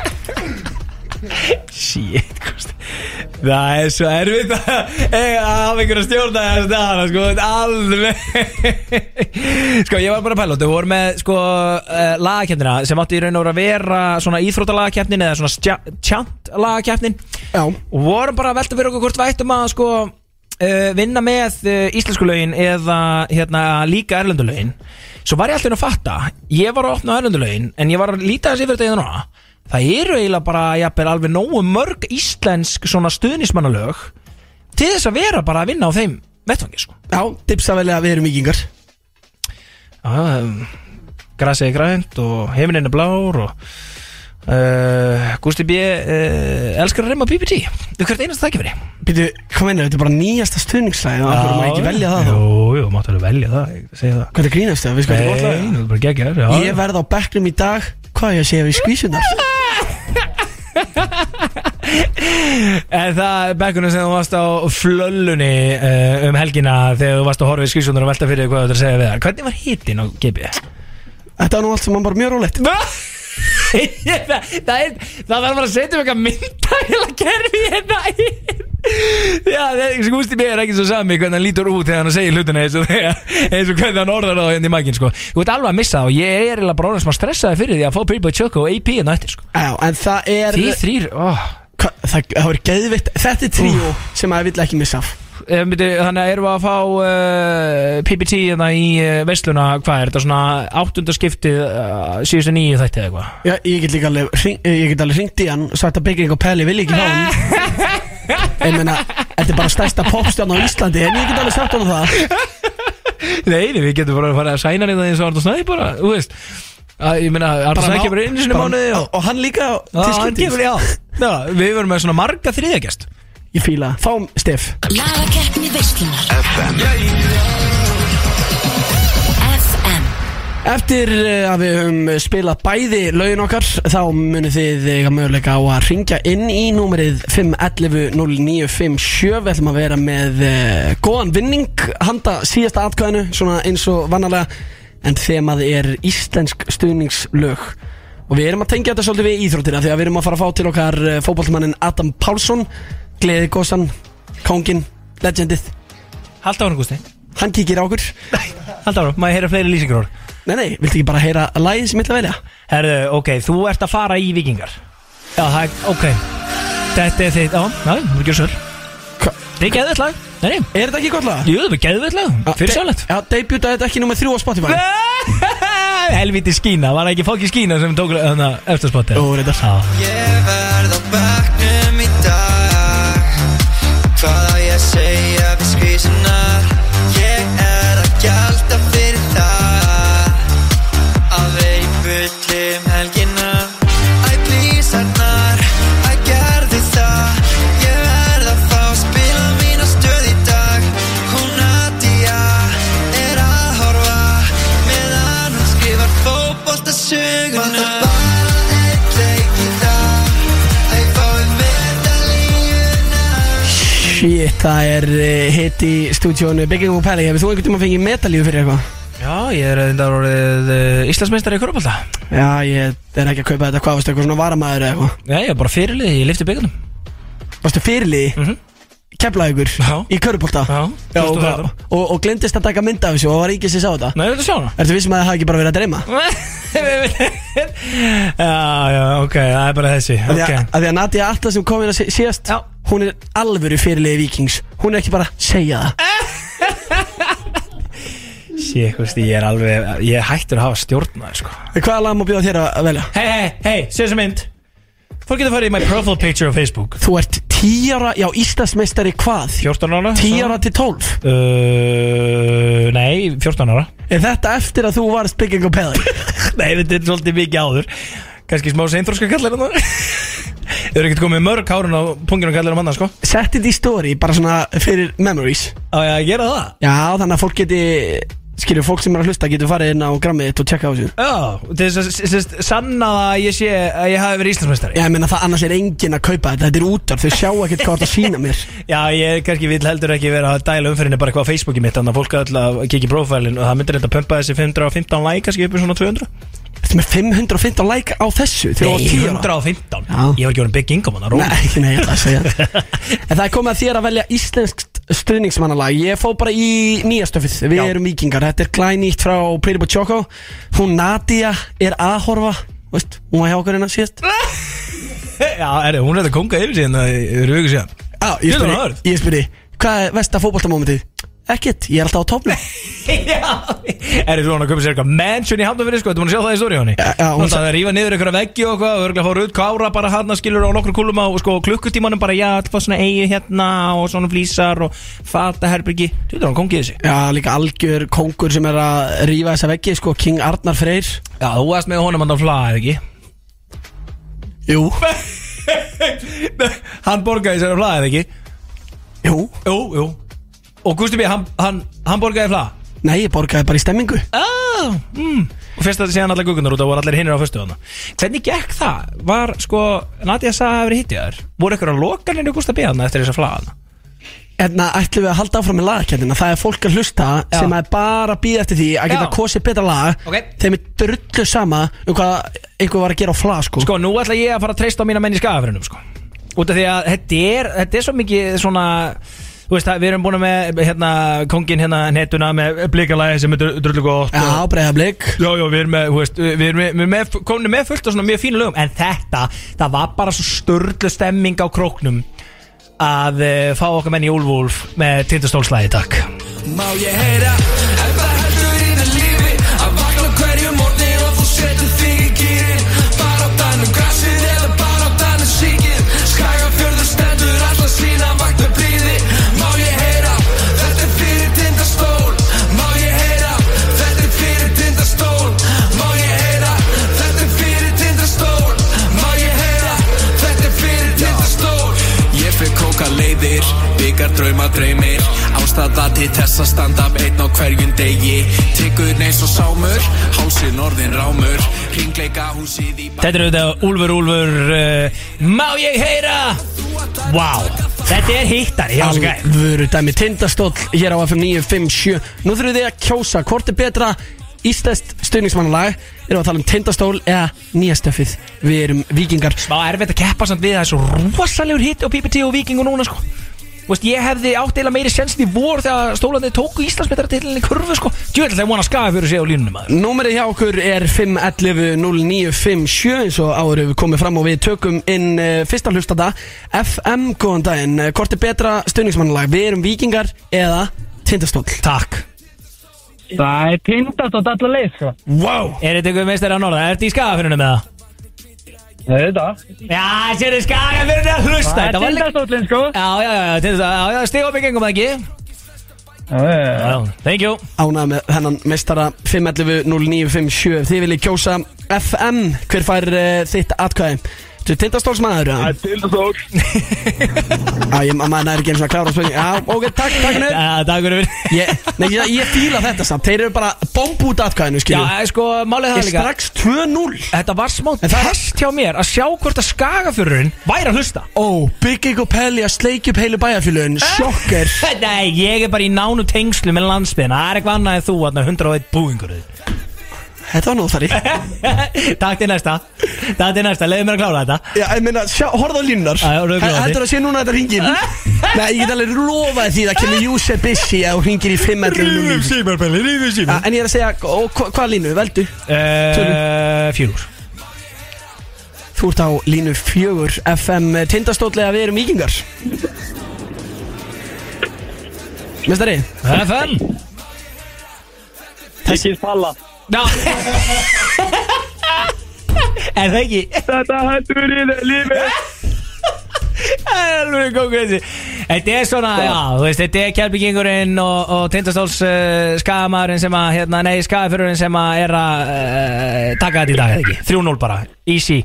S4: Shit, kosti Það er svo erfitt að eh, að hafa einhverja stjórna þessu dagana, sko, alveg Sko, ég var bara að pæla, þú voru með, sko, uh, lagakjöndina sem átti í raun og veru að vera svona íþrótalagakjöndin eða svona tjant lagakjöndin
S2: Já,
S4: og vorum bara að velta fyrir okkur hvort vættum að, sko, uh, vinna með uh, íslensku lögin eða, hérna, líka erlendulögin Svo var ég alltaf inn að fatta, ég var að opna erlendulögin en ég var að líta þessi yfir þetta í núna Það eru eiginlega bara, jafnvel, alveg nógu mörg íslensk svona stuðnismannalög til þess að vera bara að vinna á þeim vettfangi, sko.
S2: já, dipsa vel að við erum vikingar
S4: Um, Grasið er grænt og heiminin er blár og uh, Gusti B. Uh, elskar að reyma PPT. Þú hvert einasta þakkifri.
S2: Býtu, hvað meinar, þetta er bara nýjasta stuðningslæði Það er ekki velja það þá
S4: Jú, jú, máttu alveg velja það, ég segi það.
S2: Hvað er grínast það? Við sko þetta
S4: Nei,
S2: gott
S4: þú er bara geggjær, já.
S2: lag Ég verð á bekknum í dag Hvað á ég að segja við skvísunar?
S4: En það er bekkunum sem þú varst á flöllunni uh, um helgina þegar þú varst að horfa í skrísunar og velta fyrir þér hvað þú ætlar að segja við það. Hvernig var hittin á GB?
S2: Þetta var nú allt sem mann bara mjög rólegt
S4: Ég- það, það, er, það þarf bara að setja um eitthvað myndaðilega kerfi hérna inn. Já, þessi gústi mér er ekki svo sami hvernig hann lítur út þegar hann segir hlutina eins og, þegar, eins og hvernig hann orðar á hérna í maginn sko. Þú ert alveg að missa það og ég er eiginlega bara orðin sem að stressa þig fyrir því að fá Pyrbo Choco og AP hérna eftir sko.
S2: Já, en það er
S4: Því þrýr, óh
S2: Hva, það, það var geðvitt Þetta er tríó sem maður vill ekki missa af
S4: Eh, myndi, Þannig að erum við að fá uh, PPT hérna í uh, veisluna Hvað er þetta svona áttundaskiptið uh, síðustu nýju þætti eða eitthvað
S2: Já, ég get líka alveg hring, eh, Ég get alveg hringt í hann Sagt að byggja einhver pæli Vil ekki fá hann Ég meina Þetta er bara stærsta popstján á Íslandi En ég get alveg sagt hann það
S4: Nei, nei, við getum bara að fara að sæna hérna eins og Arnur Snæði bara Þú veist að, Ég meina, Arnur Snæði
S2: ná-
S4: kemur einu sinni í
S2: bara-
S4: mánuði
S2: og,
S4: og
S2: og hann líka
S4: Já,
S2: til
S4: hann
S2: skiptis.
S4: kemur, já Já, Við verum með svona marga þriðjagest
S2: Ég fíla það. Fáum Steff
S7: Lagakeppni veislunar FM
S2: Eftir eh, að við höfum spilað bæði lögin okkar þá munið þið eiga möguleika á að ringja inn í númerið 511-0957 Við ætlum að vera með uh, góðan vinning handa síðasta atkvæðinu svona eins og vannalega en þemað er íslensk stuðningslög Og við erum að tengja þetta svolítið við íþróttina Þegar við erum að fara að fá til okkar fótballmannin Adam Pálsson Gleðigossan, Kongin, Legendið
S4: Halda ára, Gústi
S2: Hann kíkir á okkur
S4: Halda ára, maður heyra fleiri lýsingur orð
S2: Nei, nei, viltu ekki bara heyra lagið sem ég ætla að velja?
S4: Herðu, ok, þú ert að fara í vikingar Já, það er, ok Þetta er þitt, já, já, þú gjör svol
S2: Hva-
S4: Þetta er geðveitt lag, nei, nei
S2: Er þetta ekki gott laga?
S4: Jú, það er geðveitt lag, fyrir sjálflegt
S2: Ah, Já, debutaði þetta ekki nummer þrjú á Spotify
S4: Helviti skína, var það ekki fokki skína sem tók þarna eftirspotið?
S2: Jú, reyndar.
S4: Já.
S9: Ég verð á bekknum í dag Hvað á ég að segja við skvísunar Ég er að gjalda fyrir það Að vera í bulli um helgina Æ, please, Arnar, æ, gerðu það Ég verð að fá að spila mína stöð í dag Hún Nadia er að horfa Meðan hún skrifar fótbolta söguna Maður þarf bara einn leik í dag Æ, fáið medalíuna
S2: Shit, það er eh, hit í stúdíónu Bygging og Pæli Hefur þú einhvern tíma fengið metalíu fyrir eitthvað?
S4: já, ég er þetta orðið uh, Íslandsmeistar í Körpallta
S2: Já, ég er ekki að kaupa þetta hvað Varstu eitthvað svona varamæður eða eitthvað?
S4: Já, ég er bara fyrirlið, ég lifti byggunum
S2: Varstu fyrirliði? Mm
S4: Mhm.
S2: Keflaði ykkur
S4: Já.
S2: í körubólta
S4: Já,
S2: og,
S4: 2013.
S2: og, og glemdist að taka mynd af þessu og var ekki sér sá þetta
S4: Nei, þetta sjá hana
S2: Ertu vissum að það hafi ekki bara verið að dreyma?
S4: Já, já, ok, það er bara þessi
S2: Af því að-
S4: okay.
S2: af því að Nadia Atta sem kom hérna sí- síðast
S4: Já.
S2: Hún er alvöru fyrirliði vikings Hún er ekki bara að segja
S4: Eh.
S2: það
S4: Sér, veist, ég er alveg, ég er hættur að hafa stjórnaði sko.
S2: Hvaða lag má bjóða þér að að velja?
S4: Hei, hei, hei, sér sem mynd Fólk getur farið í my profile picture á Facebook
S2: Þú ert 10 ára, já Íslandsmeistari hvað?
S4: 14 ára
S2: 10 ára til 12
S4: Uh, nei, 14 ára
S2: Er þetta eftir að þú varst bygging og peðing?
S4: Nei, þetta er svolítið mikið áður Kanski smá seinþróska kallar hann Þau eru ekkert komið með mörg hárun á punginum kallar um annan sko
S2: Sett þetta í story bara svona fyrir memories
S4: Á ég að gera það?
S2: Já þannig að fólk geti Skilur fólk sem er að hlusta getur farið inn á grammið þitt og tjekka á þessu
S4: Já, til þess að s- s- sanna það að ég sé að ég hafi verið Íslandsmeistari
S2: Já ég meina það annars er enginn að kaupa þetta Þetta er útar þau sjá ekkert hvað það sína mér
S4: Já, ég kannski vil heldur ekki vera að dæla umfyrinni bara eitthvað á Facebooki mitt Þannig að fólk er alltaf að kikið profilin og það myndir þetta pumpa þessi 515 like kannski upp í svona 200
S2: Þetta er með 515 like á þessu Þegar þú varst
S4: Nei,
S2: 10 ára
S4: 115
S2: Já.
S4: Ég var ekki orðin Big Income hann
S2: Nei, nei, ég ætla að segja það. En það er komið að þér að velja íslenskt stuðningsmannalag Ég fó bara í nýja stöfið Við
S4: Já.
S2: erum vikingar, þetta er glænýtt frá Pretty Boy Choco Hún Nadia er að horfa Veist, hún var hjá okkur hérna síðast Já,
S4: Já, er hún er þetta konga yfir síðan að það eru ykkur síðan
S2: Ah, ég
S4: Ég er
S2: spyr,
S4: alveg hörð.
S2: ég spyr Hvað er vesta fótboltamomentið? Ekkert, ég er alltaf á topnum
S4: Já Er þú hann að köpa sér eitthvað mansion í Hafnarfyrir sko Þú múin að sjá það í stóri á henni
S2: Já, já, hún
S4: Hún það að rífa niður einhverja veggi og eitthvað Og örgulega fá rutt kára bara hann að skilur á nokkur kúlum á Og sko klukkutímanum bara já Það var svona eigi hérna og svona flísar Og fata herbyrgi Þú veit hann kongið þessi
S2: Já, líka algjör kongur sem er að rífa þessa veggi Sko, King Arnar Freyr
S4: Já þú varst með honum hann að flaða ekki
S2: Jú,
S4: Hann borgaði sér að flaða ekki
S2: jú
S4: Jú, jú Og Gusti B, hann, hann, hann borgaði flaða
S2: Nei, ég borgaði bara í stemmingu
S4: Ah, mm. Og fyrst að það sé hann allar guggunar út og voru allir hinnir á fyrstu hana Hvernig gekk það? Var sko, Nadia sagði að hafa verið hitt í þær Voru ykkur að loka henni Gústa B. hana eftir þessa flagana?
S2: Hérna ætlum við að halda áfram með lagakendina Það er fólk að hlusta
S4: Já.
S2: sem er bara að býða eftir því að geta
S4: Já.
S2: kosið betra lag
S4: Ok.
S2: Þeim er drullu sama um hvað einhver var að gera á flag sko.
S4: Sko, nú ætla ég að fara að treysta á mína menn í skafafrinum sko. Út af því að þetta er, þetta er svo mikið svona Þú veist, það- við erum búin með hérna, kongin hérna netuna með blikalæði sem er drullu gott
S2: Já,
S4: og-
S2: breyðablík
S4: Já, já, við erum með, þú veist, við erum með, með, með komnum með fullt af svona mjög fínu lögum En þetta, það var bara svo störlu stemming á króknum Að uh, fá okkar menn í Úlfúlf með tindastólslæði, takk
S9: Má ég heyra, ef það heldur í það lífi Að vakna á hverjum morgni og þú setur þig í gýrin Baráttanum grassið um eða baráttanum síkið um Skagafjörður stendur alla sína vakt með blíði Má ég heyra, þetta er fyrir tindastól Má ég heyra, þetta er fyrir tindastól Má ég heyra, þetta er fyrir tindastól Má ég heyra, þetta er fyrir tindastól Ég fyrir kóka leiðir, byggar drauma dreymir Ástæða til þess að standa upp einn á hverjum degi Tyggur neins og sámur, hálsin orðin rámur Hringleika húsið í bæ
S4: Þetta er auðvitað Úlfur, Úlfur uh, Má ég heyra Vá, þetta er hittari hjá þessu gæ
S2: Alvöru dæmi tindastóll hér á FM 957 Nú þurfum þið að kjósa hvort er betra íslenskt stuðningsmannalag Erum við að tala um tindastól eða nýja stöfið Við erum vikingar
S4: Má erfitt að keppa samt við það er svo rosalegur hitti á PPT og Viking og núna sko Þú veist, ég hefði átt eila meiri sensin í vor þegar stólandið tóku Íslandsmetaratilinni kurfu sko Djúvel, það vona að skafa fyrir sig á línunum maður
S2: Númerið hjá okkur er 511-0957 eins og áður hefur komið fram og við tökum inn uh, fyrsta hlustata FM, góðan daginn, Eh, hvort er betra stuðningsmannalag, við erum vikingar eða tindastól
S4: Takk
S10: Það er tindast og allar leið, sko.
S4: Wow Er þetta ykkur meistari á norða? Ertu í skagafyrinu með það?
S10: Auðvitað.
S4: Já, sér þið skagafyrinu að hlusta
S10: Það er
S4: Þetta var líka
S10: tindast allin, sko.
S4: Já, já, já, já, til þess að, já, já, stígum við gengum það ekki
S10: Já, já, já.
S4: Já, thank you
S2: Ánað með hennan mestara 511-0957 Ef þið viljið kjósa FM, hver fær uh, þitt atkvæði? Þú tindastólsmaður? Það er tindastól Já, ég maður er ekki eins og að klára spurning Já, ok, takk, takk nefn
S4: Já, Takk fyrir fyrir
S2: Ég, nei, ég, ég fíla þetta samt Þeir eru bara bomb út atkvæðinu,
S4: Já,
S2: skilju
S4: eh, sko, málið er
S2: Ég
S4: það líka
S2: strax 2-0
S4: Þetta var smá
S2: En það-
S4: test hjá mér að sjá hvort að skagafyrurinn væri að hlusta
S2: Ó, bygging og pelli að sleikja upp heilu bæjarfjölun Sjokker
S4: Nei, ég er bara í nánu tengslu með landsbyrna Það er eitthvað annað en þú, þarna 101 búingur
S2: Þetta var nóð þar í
S4: Takk til næsta Takk til næsta, leiðu mér að klára þetta
S2: Já, ég meina, sjá, horfðu á Eh? línunar
S4: Já, já, rauður gráði.
S2: Heldur að sé núna þetta ringin Nei, ég get alveg lofaði því Það kemur Júse Bissi að hún ringir í 5
S4: símar, Pelli, rífum
S2: Ja, en ég er að segja, og hva, hvað línu, veldu?
S4: símar Fjúr
S2: Þú ert á línu fjögur FM tindastóðlega við erum vikingar Mestari,
S4: FM
S10: Ég kýr palla.
S4: Já Er það ekki?
S10: Þetta hættur í þeir lífið.
S4: Það er alveg konkurrensi Þetta er svona, já, þú veist, þetta er kjærbyggingurinn og, og tindastóls uh, skagamæðurinn sem að, hérna, nei, skagafyrurinn sem að er að uh, taka þetta í dag, eða ekki? 3-0 bara, easy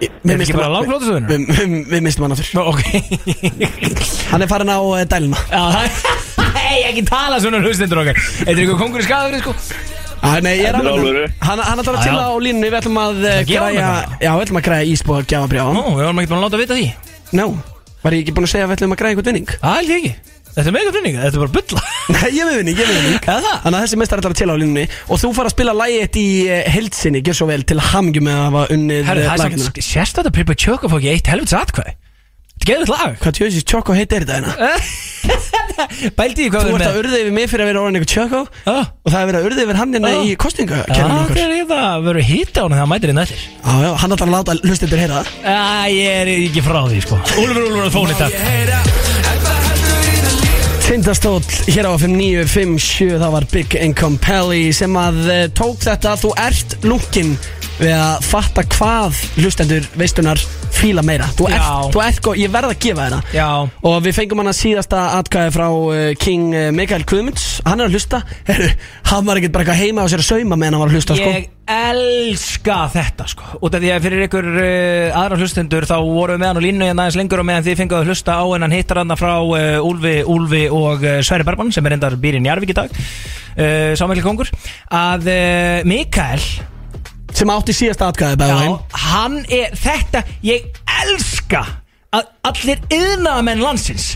S2: við
S4: Er ekki bara langflótusöðunum?
S2: Við, við, við mistum hann aftur
S4: Nú, ok
S2: Hann er farin á eh, dæluna
S4: Já, það Hei, ekki tala svona um hlustendur okkar Þetta er ykkur kongur í skadafyrir, sko
S2: ah, Nei, ég er
S3: Þetta er
S2: alveg
S3: alvöru.
S2: Hann, hann ætlar að
S4: Já, já.
S2: tilla á línunni, við ætlum að eh,
S4: Það gefa honum
S2: græja
S4: það.
S2: Já, við ætlum að græja ísbúð að gefa bríða á hann
S4: við varum ekki búin að láta vita því
S2: Ná, var ég ekki búin að segja að við ætlum að græja eitthvað vinning?
S4: Það held ég ekki Þetta er mega frinning, þetta er bara bulla
S2: Nei, ég er með vinning, ég er með vinning
S4: Eða það?
S2: Þannig að þessi mestar ætlar að tilla á línunni Og þú fara að spila lagið þitt í heldsinni, gjör svo vel til hamgjum með að hafa unnið
S4: Herru,
S2: eh,
S4: það er
S2: lagið
S4: samt sérstætt að Pippa Tjóka fók í eitt helvits atkvæði Þetta geður lag
S2: Hvað tjóðsins tjókko heitir þetta hérna?
S4: Bældi í hvað
S2: Þú ert
S4: við
S2: að
S4: erum
S2: urða yfir mig fyrir að vera orðin eitthvað tjókko
S4: Já.
S2: Og það er verið að urða yfir hann hérna
S4: Já.
S2: í kostingakernin
S4: með
S2: okkur
S4: Það er hérna, við erum hitt á hann þegar hann mætir inn eftir
S2: Já, já, hann ætlar að láta hlustendur heyra það
S4: Æ, ég er ekki frá því, sko Úlfur, Úlfur, að fóni þetta
S2: Tindastóll hér á 5957 Það var Big Income Pelly sem að eh, tók þetta Þú ert lungin við að fatta hvað hlustendur veistunar fíla meira Þú ert,
S4: Já.
S2: þú ert góð, ég verð að gefa þér það
S4: Já.
S2: Og við fengum hann að síðasta atkvæði frá eh, King eh, Mikael Guðmunds Hann er að hlusta, herru, hann var ekkert bara eitthvað heima á sér að sauma meðan hann var að hlusta sko.
S4: Ég elska þetta sko Út af því að fyrir ykkur uh, aðra hlustendur Þá vorum við með hann og línu hérna aðeins lengur Og meðan þið fenguðu að hlusta á En hann hittar hann frá uh, Úlfi, Úlfi og uh, Sverri Bergmann Sem er endar býrin í Jarvík í dag uh, Sámækli kongur Að uh, Mikael
S2: Sem átti síðasta atkvæði by the way.
S4: Já, hann er þetta Ég elska að allir yðnaðamenn landsins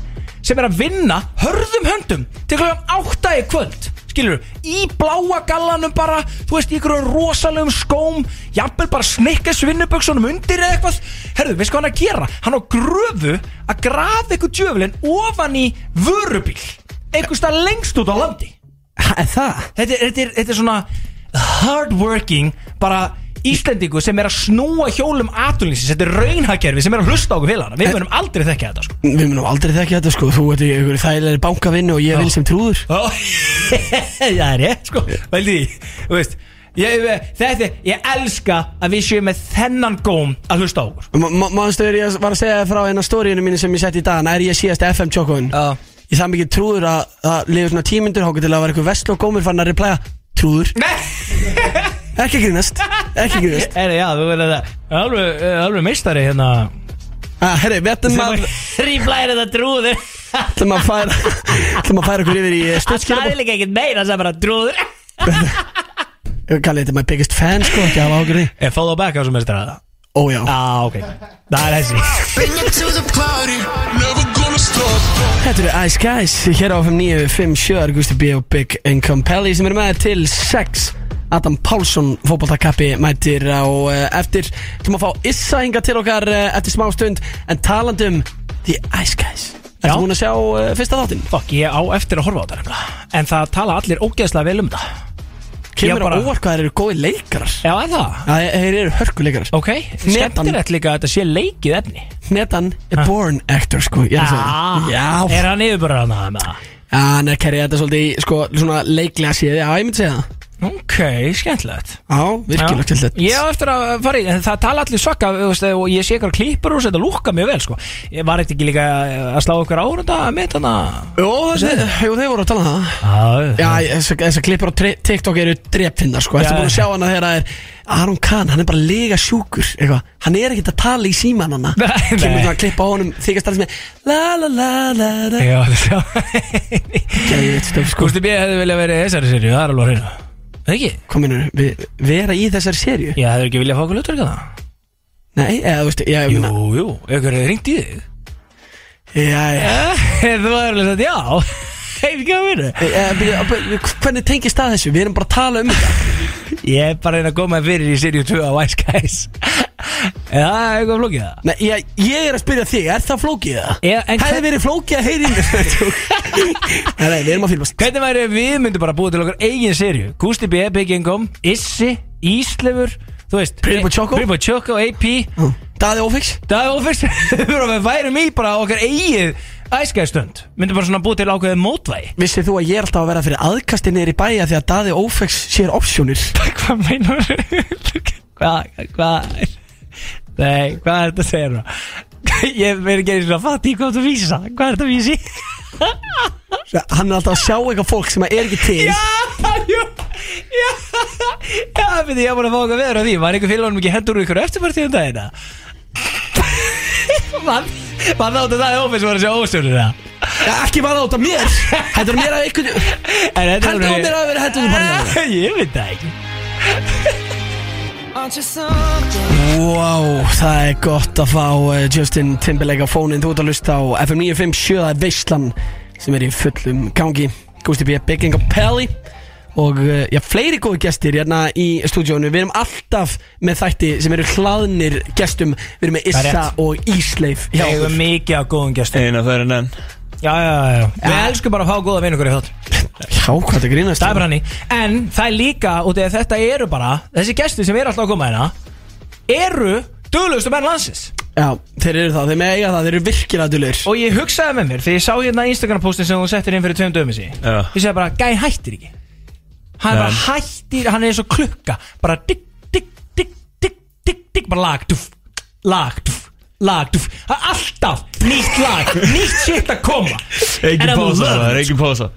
S4: sem er að vinna hörðum höndum til klokkan átta í kvöld skilur, í bláa gallanum bara þú veist, í ykkur rosalegum skóm jafnvel bara snikka svinnuböksunum undir eða eitthvað, herðu, veist hvað hann er að gera hann á gröfu að grafa ykkur djöflin ofan í vörubíl einhvers stað lengst út á landi
S2: Ha, er Það?
S4: þetta, er- þetta, er, þetta er svona hardworking bara Íslendingu sem er að snúa hjólum atullinsins, þetta er raunhakerfi sem er að hlusta á okkur félagana, við munum aldrei þekka þetta sko.
S2: Við munum aldrei þekkja þetta sko Þú ert í einhverju þægilegri bankavinnu og ég vinn sem trúður
S4: Ó, það er ég sko, veldi því þú veist, ég, þetta, ég elska að við séum með þennan góm að hlusta á okkur
S2: Máðustu er ég var að segja þér frá eina stóriðinu mínu sem ég sett í dag Nær ég síðast FM tjókun
S4: Já.
S2: Ég það mikið trúður að það lifur svona tímyndur Háka til að vera eitthvað vesl og gómur fann að replæja Trúður, ekki að grínast Ekki að grínast
S4: Heri, já, þú verður það alveg, alveg meistari hérna
S2: ah, Herri, við ætlum að,
S4: Ríflæri þetta trúður
S2: ætlum að færa ætlum að færa okkur yfir í eh,
S4: Það
S2: stuttskilabóð
S4: er líka ekkert meira sem bara trúður
S2: Kalli, þetta er my biggest fan sko Ekki að hafa ákjörði
S4: En fá þá back á sem meistara það
S2: Ó já
S4: Já, ok Það er þessi
S2: Þetta eru Ice Guys Hér á 5957 Gusti B og Big Income Pelli sem eru með þér til 6 Adam Pálsson fótballtakappi mætir á uh, eftir sem að fá Issa hinga til okkar uh, eftir smá stund en talandi um The Ice Guys
S4: Já.
S2: Ertu hún að sjá uh, fyrsta þáttinn?
S4: Fuck, ég á eftir að horfa á þetta nefnilega En það tala allir ógeðslega vel um þetta
S2: Kemur
S4: bara-
S2: á óvart hvað þeir eru góði leikarar
S4: Já, er það?
S2: Já, þeir- þeir eru hörkuleikarar
S4: Ok, skemmtilegt líka að þetta sé leikið efni Ah,
S2: Netan er born actor sko ég er að segja þér. Já
S4: Er hann yfirbara hann að með það?
S2: Já, hann er kerrið þetta svolítið í, sko, svona leiklega séð Já, ég myndi segja það
S4: Ok, skemmtilegt
S2: Já, virkilega til þetta
S4: Ég á eftir að fara í, en það tala allir svaka þú veist, og ég sé eitthvað klípur úr þessu, þetta lúkka mjög vel sko. Ég var eitthvað ekki líka að slá okkur árunda með þarna
S2: Jó, þeir, jú, þeir voru að tala um það Já, þessar klippur á tre- TikTok eru drepfinnar sko. Ertu
S4: Já,
S2: búin að
S4: já.
S2: sjá hana þegar það er Aron Kahn, hann er bara lega sjúkur eitthvað. Hann er ekkert að tala í síman hana
S4: Nei,
S2: Kemur
S4: nei.
S2: svona að klippa á honum Þykast alls með La la la la la
S4: Já, þetta
S2: Geðveikt stöf, sko.
S4: Gústi B. hefði viljað verið í þessari serju, það er alveg hreinu Það ekki?
S2: Hvað minnur, við vera í þessari serju?
S4: Ég hefði ekki viljað fá okkur lötur ekki það
S2: Nei, eða þú veist, ég, ég meina
S4: Jú, jú, ykkur hefði ringt í þig
S2: Já, já
S4: Eh, Þú hefði alveg sagt já Hefði ekki að vinna
S2: Eh, byrja, byrja, Hvernig tengist það þessu? Við erum bara að tala um þetta
S4: Ég er bara að reyna að koma fyrir í serju 2 á Ice Guys En það er eitthvað flókið það
S2: Nei, ég, ég er að spyrja þig, er það flókið það?
S4: Já, en
S2: Hefði
S4: hver-
S2: verið flókið að heyri Nei, nei, við erum að fylgast
S4: Hvernig væri ef við myndum bara búið til okkar eigin serju Gusti B, Big Income, Issi, Íslefur Þú veist
S2: Pretty Boy Choco.
S4: Pretty Boy Choco, AP
S2: Daði Ófix
S4: Það og fyrst Við vorum að við værum í bara okkar eigið æskæðstund Myndum bara svona búið til ákveðið mótvægi
S2: Vissið þú að ég er alltaf að vera fyrir aðkasti neyri bæja því að Daði Ófex sér opsjónir
S4: Hvað meinar Hvað, hvað Nei, hvað er þetta að segja nú? Ég verður ekki eins og að fatta í hvað þú vísa Hvað er þetta að vísi?
S2: Hann er alltaf að sjá eitthvað fólk sem er ekki til
S4: Já, jú Já, já, fyrir ég var að fá okkar veður á því Var einhver félagunum ekki hendur úr ykkur eftirpartíðum dagina? Man, man áttu það í ofis var að sjá ósjörnir það
S2: ja, Ekki bara átt af mér Þetta er mér að einhvern
S4: En þetta
S2: Heldur á mér að vera hendur bara
S4: Eh, Ég veit það ekki
S2: Wow, það er gott að fá eh, Justin Timberlake á fónin Þú ert að lusta á FM 957 það er Veislan sem er í fullum gangi Gusti B. Bigging og Pelli og eh, já, fleiri góði gestir hérna í stúdíónu Við erum alltaf með þætti sem eru hlaðnir gestum Við erum með
S4: Það er
S2: Issa
S4: rétt.
S2: og Ísleif hjá
S4: Ég
S2: okkur.
S4: hefur mikið af góðum gestum
S5: Eina það er en enn
S4: Já, já, já, já Við elskum bara að fá góða vinningur í þátt
S2: Já, hvað þetta grínast um.
S4: Það er bara hannig En það er líka, út af því að þetta eru bara Þessi gestir sem eru alltaf að koma hérna Eru duglegustu menn landsins
S2: Já, þeir eru það, þeir með eiga það, þeir eru virkilega dulir
S4: Og ég hugsaði með mér Þegar ég sá hérna Instagram postin sem hún settir inn fyrir tveim dömi sí
S5: Já.
S4: Ég segi bara, gæn hættir ekki Hann bara hættir, hann er eins og klukka Bara digg, digg, digg, digg, digg, digg Bara lag, duff, lag, duff Lag, duff, Það er alltaf nýtt lag Nýtt shit að koma
S5: Ekki
S4: And I
S5: pása,
S4: love
S5: það
S4: it.
S5: er ekki pása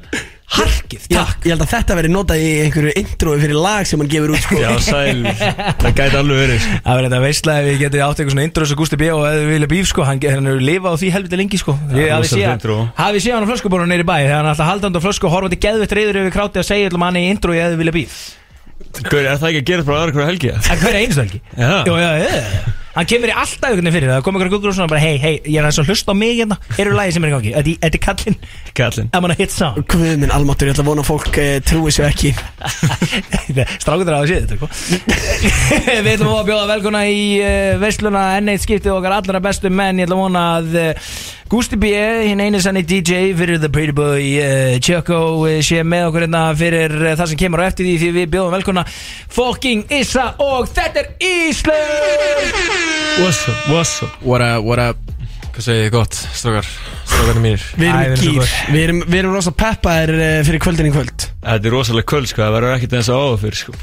S4: Harkið,
S2: Já,
S4: takk
S2: ég held að þetta veri notað í einhverju introi fyrir lag sem hann gefur út sko.
S5: Já, sæl Það gæti alveg verið sko.
S4: Það verður þetta veistla ef ég geti átt eitthvað svona intro sem Gústi B og eða vilja býf sko, hann, hann er lifa á því helviti lengi sko Ég
S5: Ja,
S4: hafi
S5: rosalegt
S4: séð
S5: intro.
S4: hafi séð hann á flöskuborunum neyri bæ þegar hann er alltaf haldandi á flösku og horfandi geðvett reyður yfir kráti að segja allum hann í intro eða vilja býf
S5: Gaur, er það ekki að gera bara aðra hverja helgi?
S4: En hver er einstu helgi?
S5: Já.
S4: Jú, já, já Hann kemur í alltaf einhvern veginn fyrir það, það kom einhver guggur og svona bara hei, hei, ég er aðeins að hlusta á mig hérna, eru lagi sem er í gangi, Þetta- þetta er kallinn,
S5: Kallinn
S4: I'm gonna hit song
S2: Guð minn almáttur, ég ætla að vona að fólk e, trúi sér ekki
S4: Strákur þar að séð þetta sko. Við ætlum að bjóða velkona í uh, veisluna enn eitt skiptið okkar allra bestu menn Ég ætla að vona að uh, Gusti B, hinn einu sannig DJ fyrir The Pretty Boy uh, Choco uh, sé með okkur hérna fyrir uh, það sem kemur á eftir því því við bjóðum velkona Fucking Issa og þetta er Ísland
S5: What's up, what's up
S6: What up, what up Hvað segir þið gott, strókar, strókarnir mínir
S2: Við
S4: Æ,
S2: erum
S4: við erum
S2: í
S4: svo
S2: gýr,
S4: góð.
S2: við erum, við erum rosa peppaðir e, fyrir kvöldin í kvöld
S5: Þetta er rosalega kvöld, sko Það verður ekkert eins og áður fyrir, sko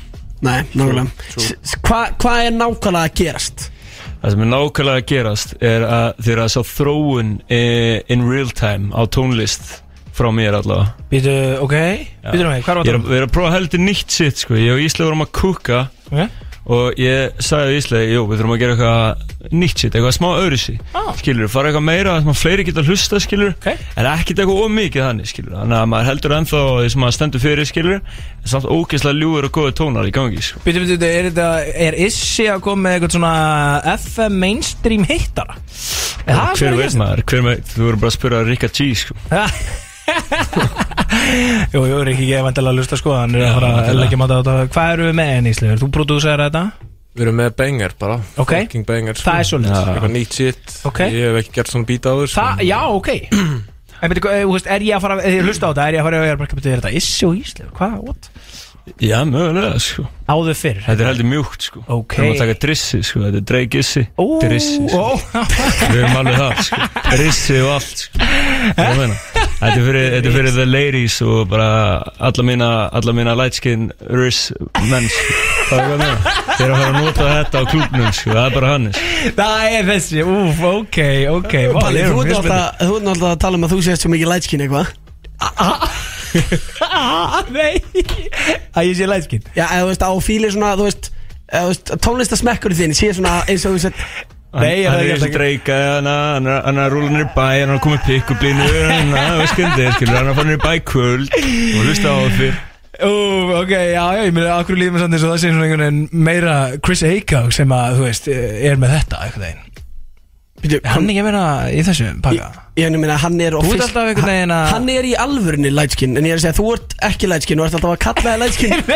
S2: Nei, nákvæmlega S- s- Hvað hva er nákvæmlega að gerast?
S5: Það sem er nákvæmlega að gerast er að þið eru að sá þróun e, in real time á tónlist frá mér allavega
S4: Býtu, ok, býtu nú, hvað
S5: Ég er
S4: var
S5: að- Við erum að prófa heldur nýtt sitt sko Ég og Ísla vorum að kúka
S4: það?
S5: og ég sagði við Íslega, jú, við þurfum að gera eitthvað nýtt sitt, eitthvað smá öðru sitt ah. skilur, fara eitthvað meira, það sem að fleiri geta hlusta skilur, okay. en ekkert eitthvað ómikið þannig skilur, þannig að maður heldur ennþá því sem maður stendur fyrir skilur, en samt ógeðslega ljúður og góði tónar í gangi sko.
S4: Býtu, býtu, býtu, er, þetta, er Issi að koma með eitthvað svona FM mainstream hittara? Er það sem er
S5: hver
S4: að hérna?
S5: veit
S4: gerast?
S5: maður, hver veit, þú voru bara að spura Rika G sko.
S4: Jú, jú, er ekki ég vantilega að lusta sko, hann er að fara að leggja matta á þetta Hvað eru við með enn Íslega? Þú prodúsar þetta?
S11: Við erum með banger bara
S4: Ok.
S11: Fucking banger sko.
S4: Það er svoleiðis. Já.
S11: Eitthvað nýtt shit
S4: Ok.
S11: Ég hef ekki gert svona beat áður sko.
S4: Það, já, ok En betur, þú veist, er ég að fara, ef ég hlusta á þetta, er ég að fara, ég er bara, betur, er þetta Issi og Ísleifur, hvað, what?
S5: Já, mögulega, sko
S4: Áður fyrr
S5: Þetta er heldur mjúkt, sko
S4: Ok.
S5: Við erum að taka drissi, sko Þetta er dreigissi,
S4: Ó,
S5: drissi sko.
S4: ó.
S5: Við erum alveg það, sko Rissi og allt, sko Þetta er meina Þetta er fyrir, þetta er fyrir the ladies og bara alla mína, alla mína light skin riss menn, sko Það er hvað meina Þeir eru að fara að nota þetta á klúknum, sko Það er bara hannis
S4: Það er þessi, úf, ok, ok vá,
S2: Palli,
S4: ég er
S2: þú ert
S4: mjög
S2: náttúrulega þú ert náttúrulega að tala um að þú sést svo mikið lætskinn eitthvað
S4: spenntur. Ah, Nei Að ég sé lætskinn
S2: Já, eða þú veist, á fíli svona, þú veist, eða, þú veist tónlistasmekkurinn þinn sé svona eins og þú veist
S5: Nei, hann er eins og dreika, hann er- hann er hann er að rúla nýri bæ, hann er að koma í pikkublínu, hann er að skundið, skilur, hann er að fara nýri bæ í kvöld og hlusta á það fyrr.
S4: Úf, ok, já, já, ég meina, akkur líður mér samt eins og það sé svona einhvern veginn meira Chris Aycock sem að, þú veist, eh, er með þetta, einhvern veginn
S2: Býtu,
S4: Hann ekki meira í þessu pakka
S2: Ég ég meina, hann er
S4: Þú ert
S2: offic-
S4: alltaf einhvern veginn að-
S2: Hann er í alvörunni lætskinn, en ég er að segja, þú ert ekki lætskinn og ert alltaf að kalla það lætskinn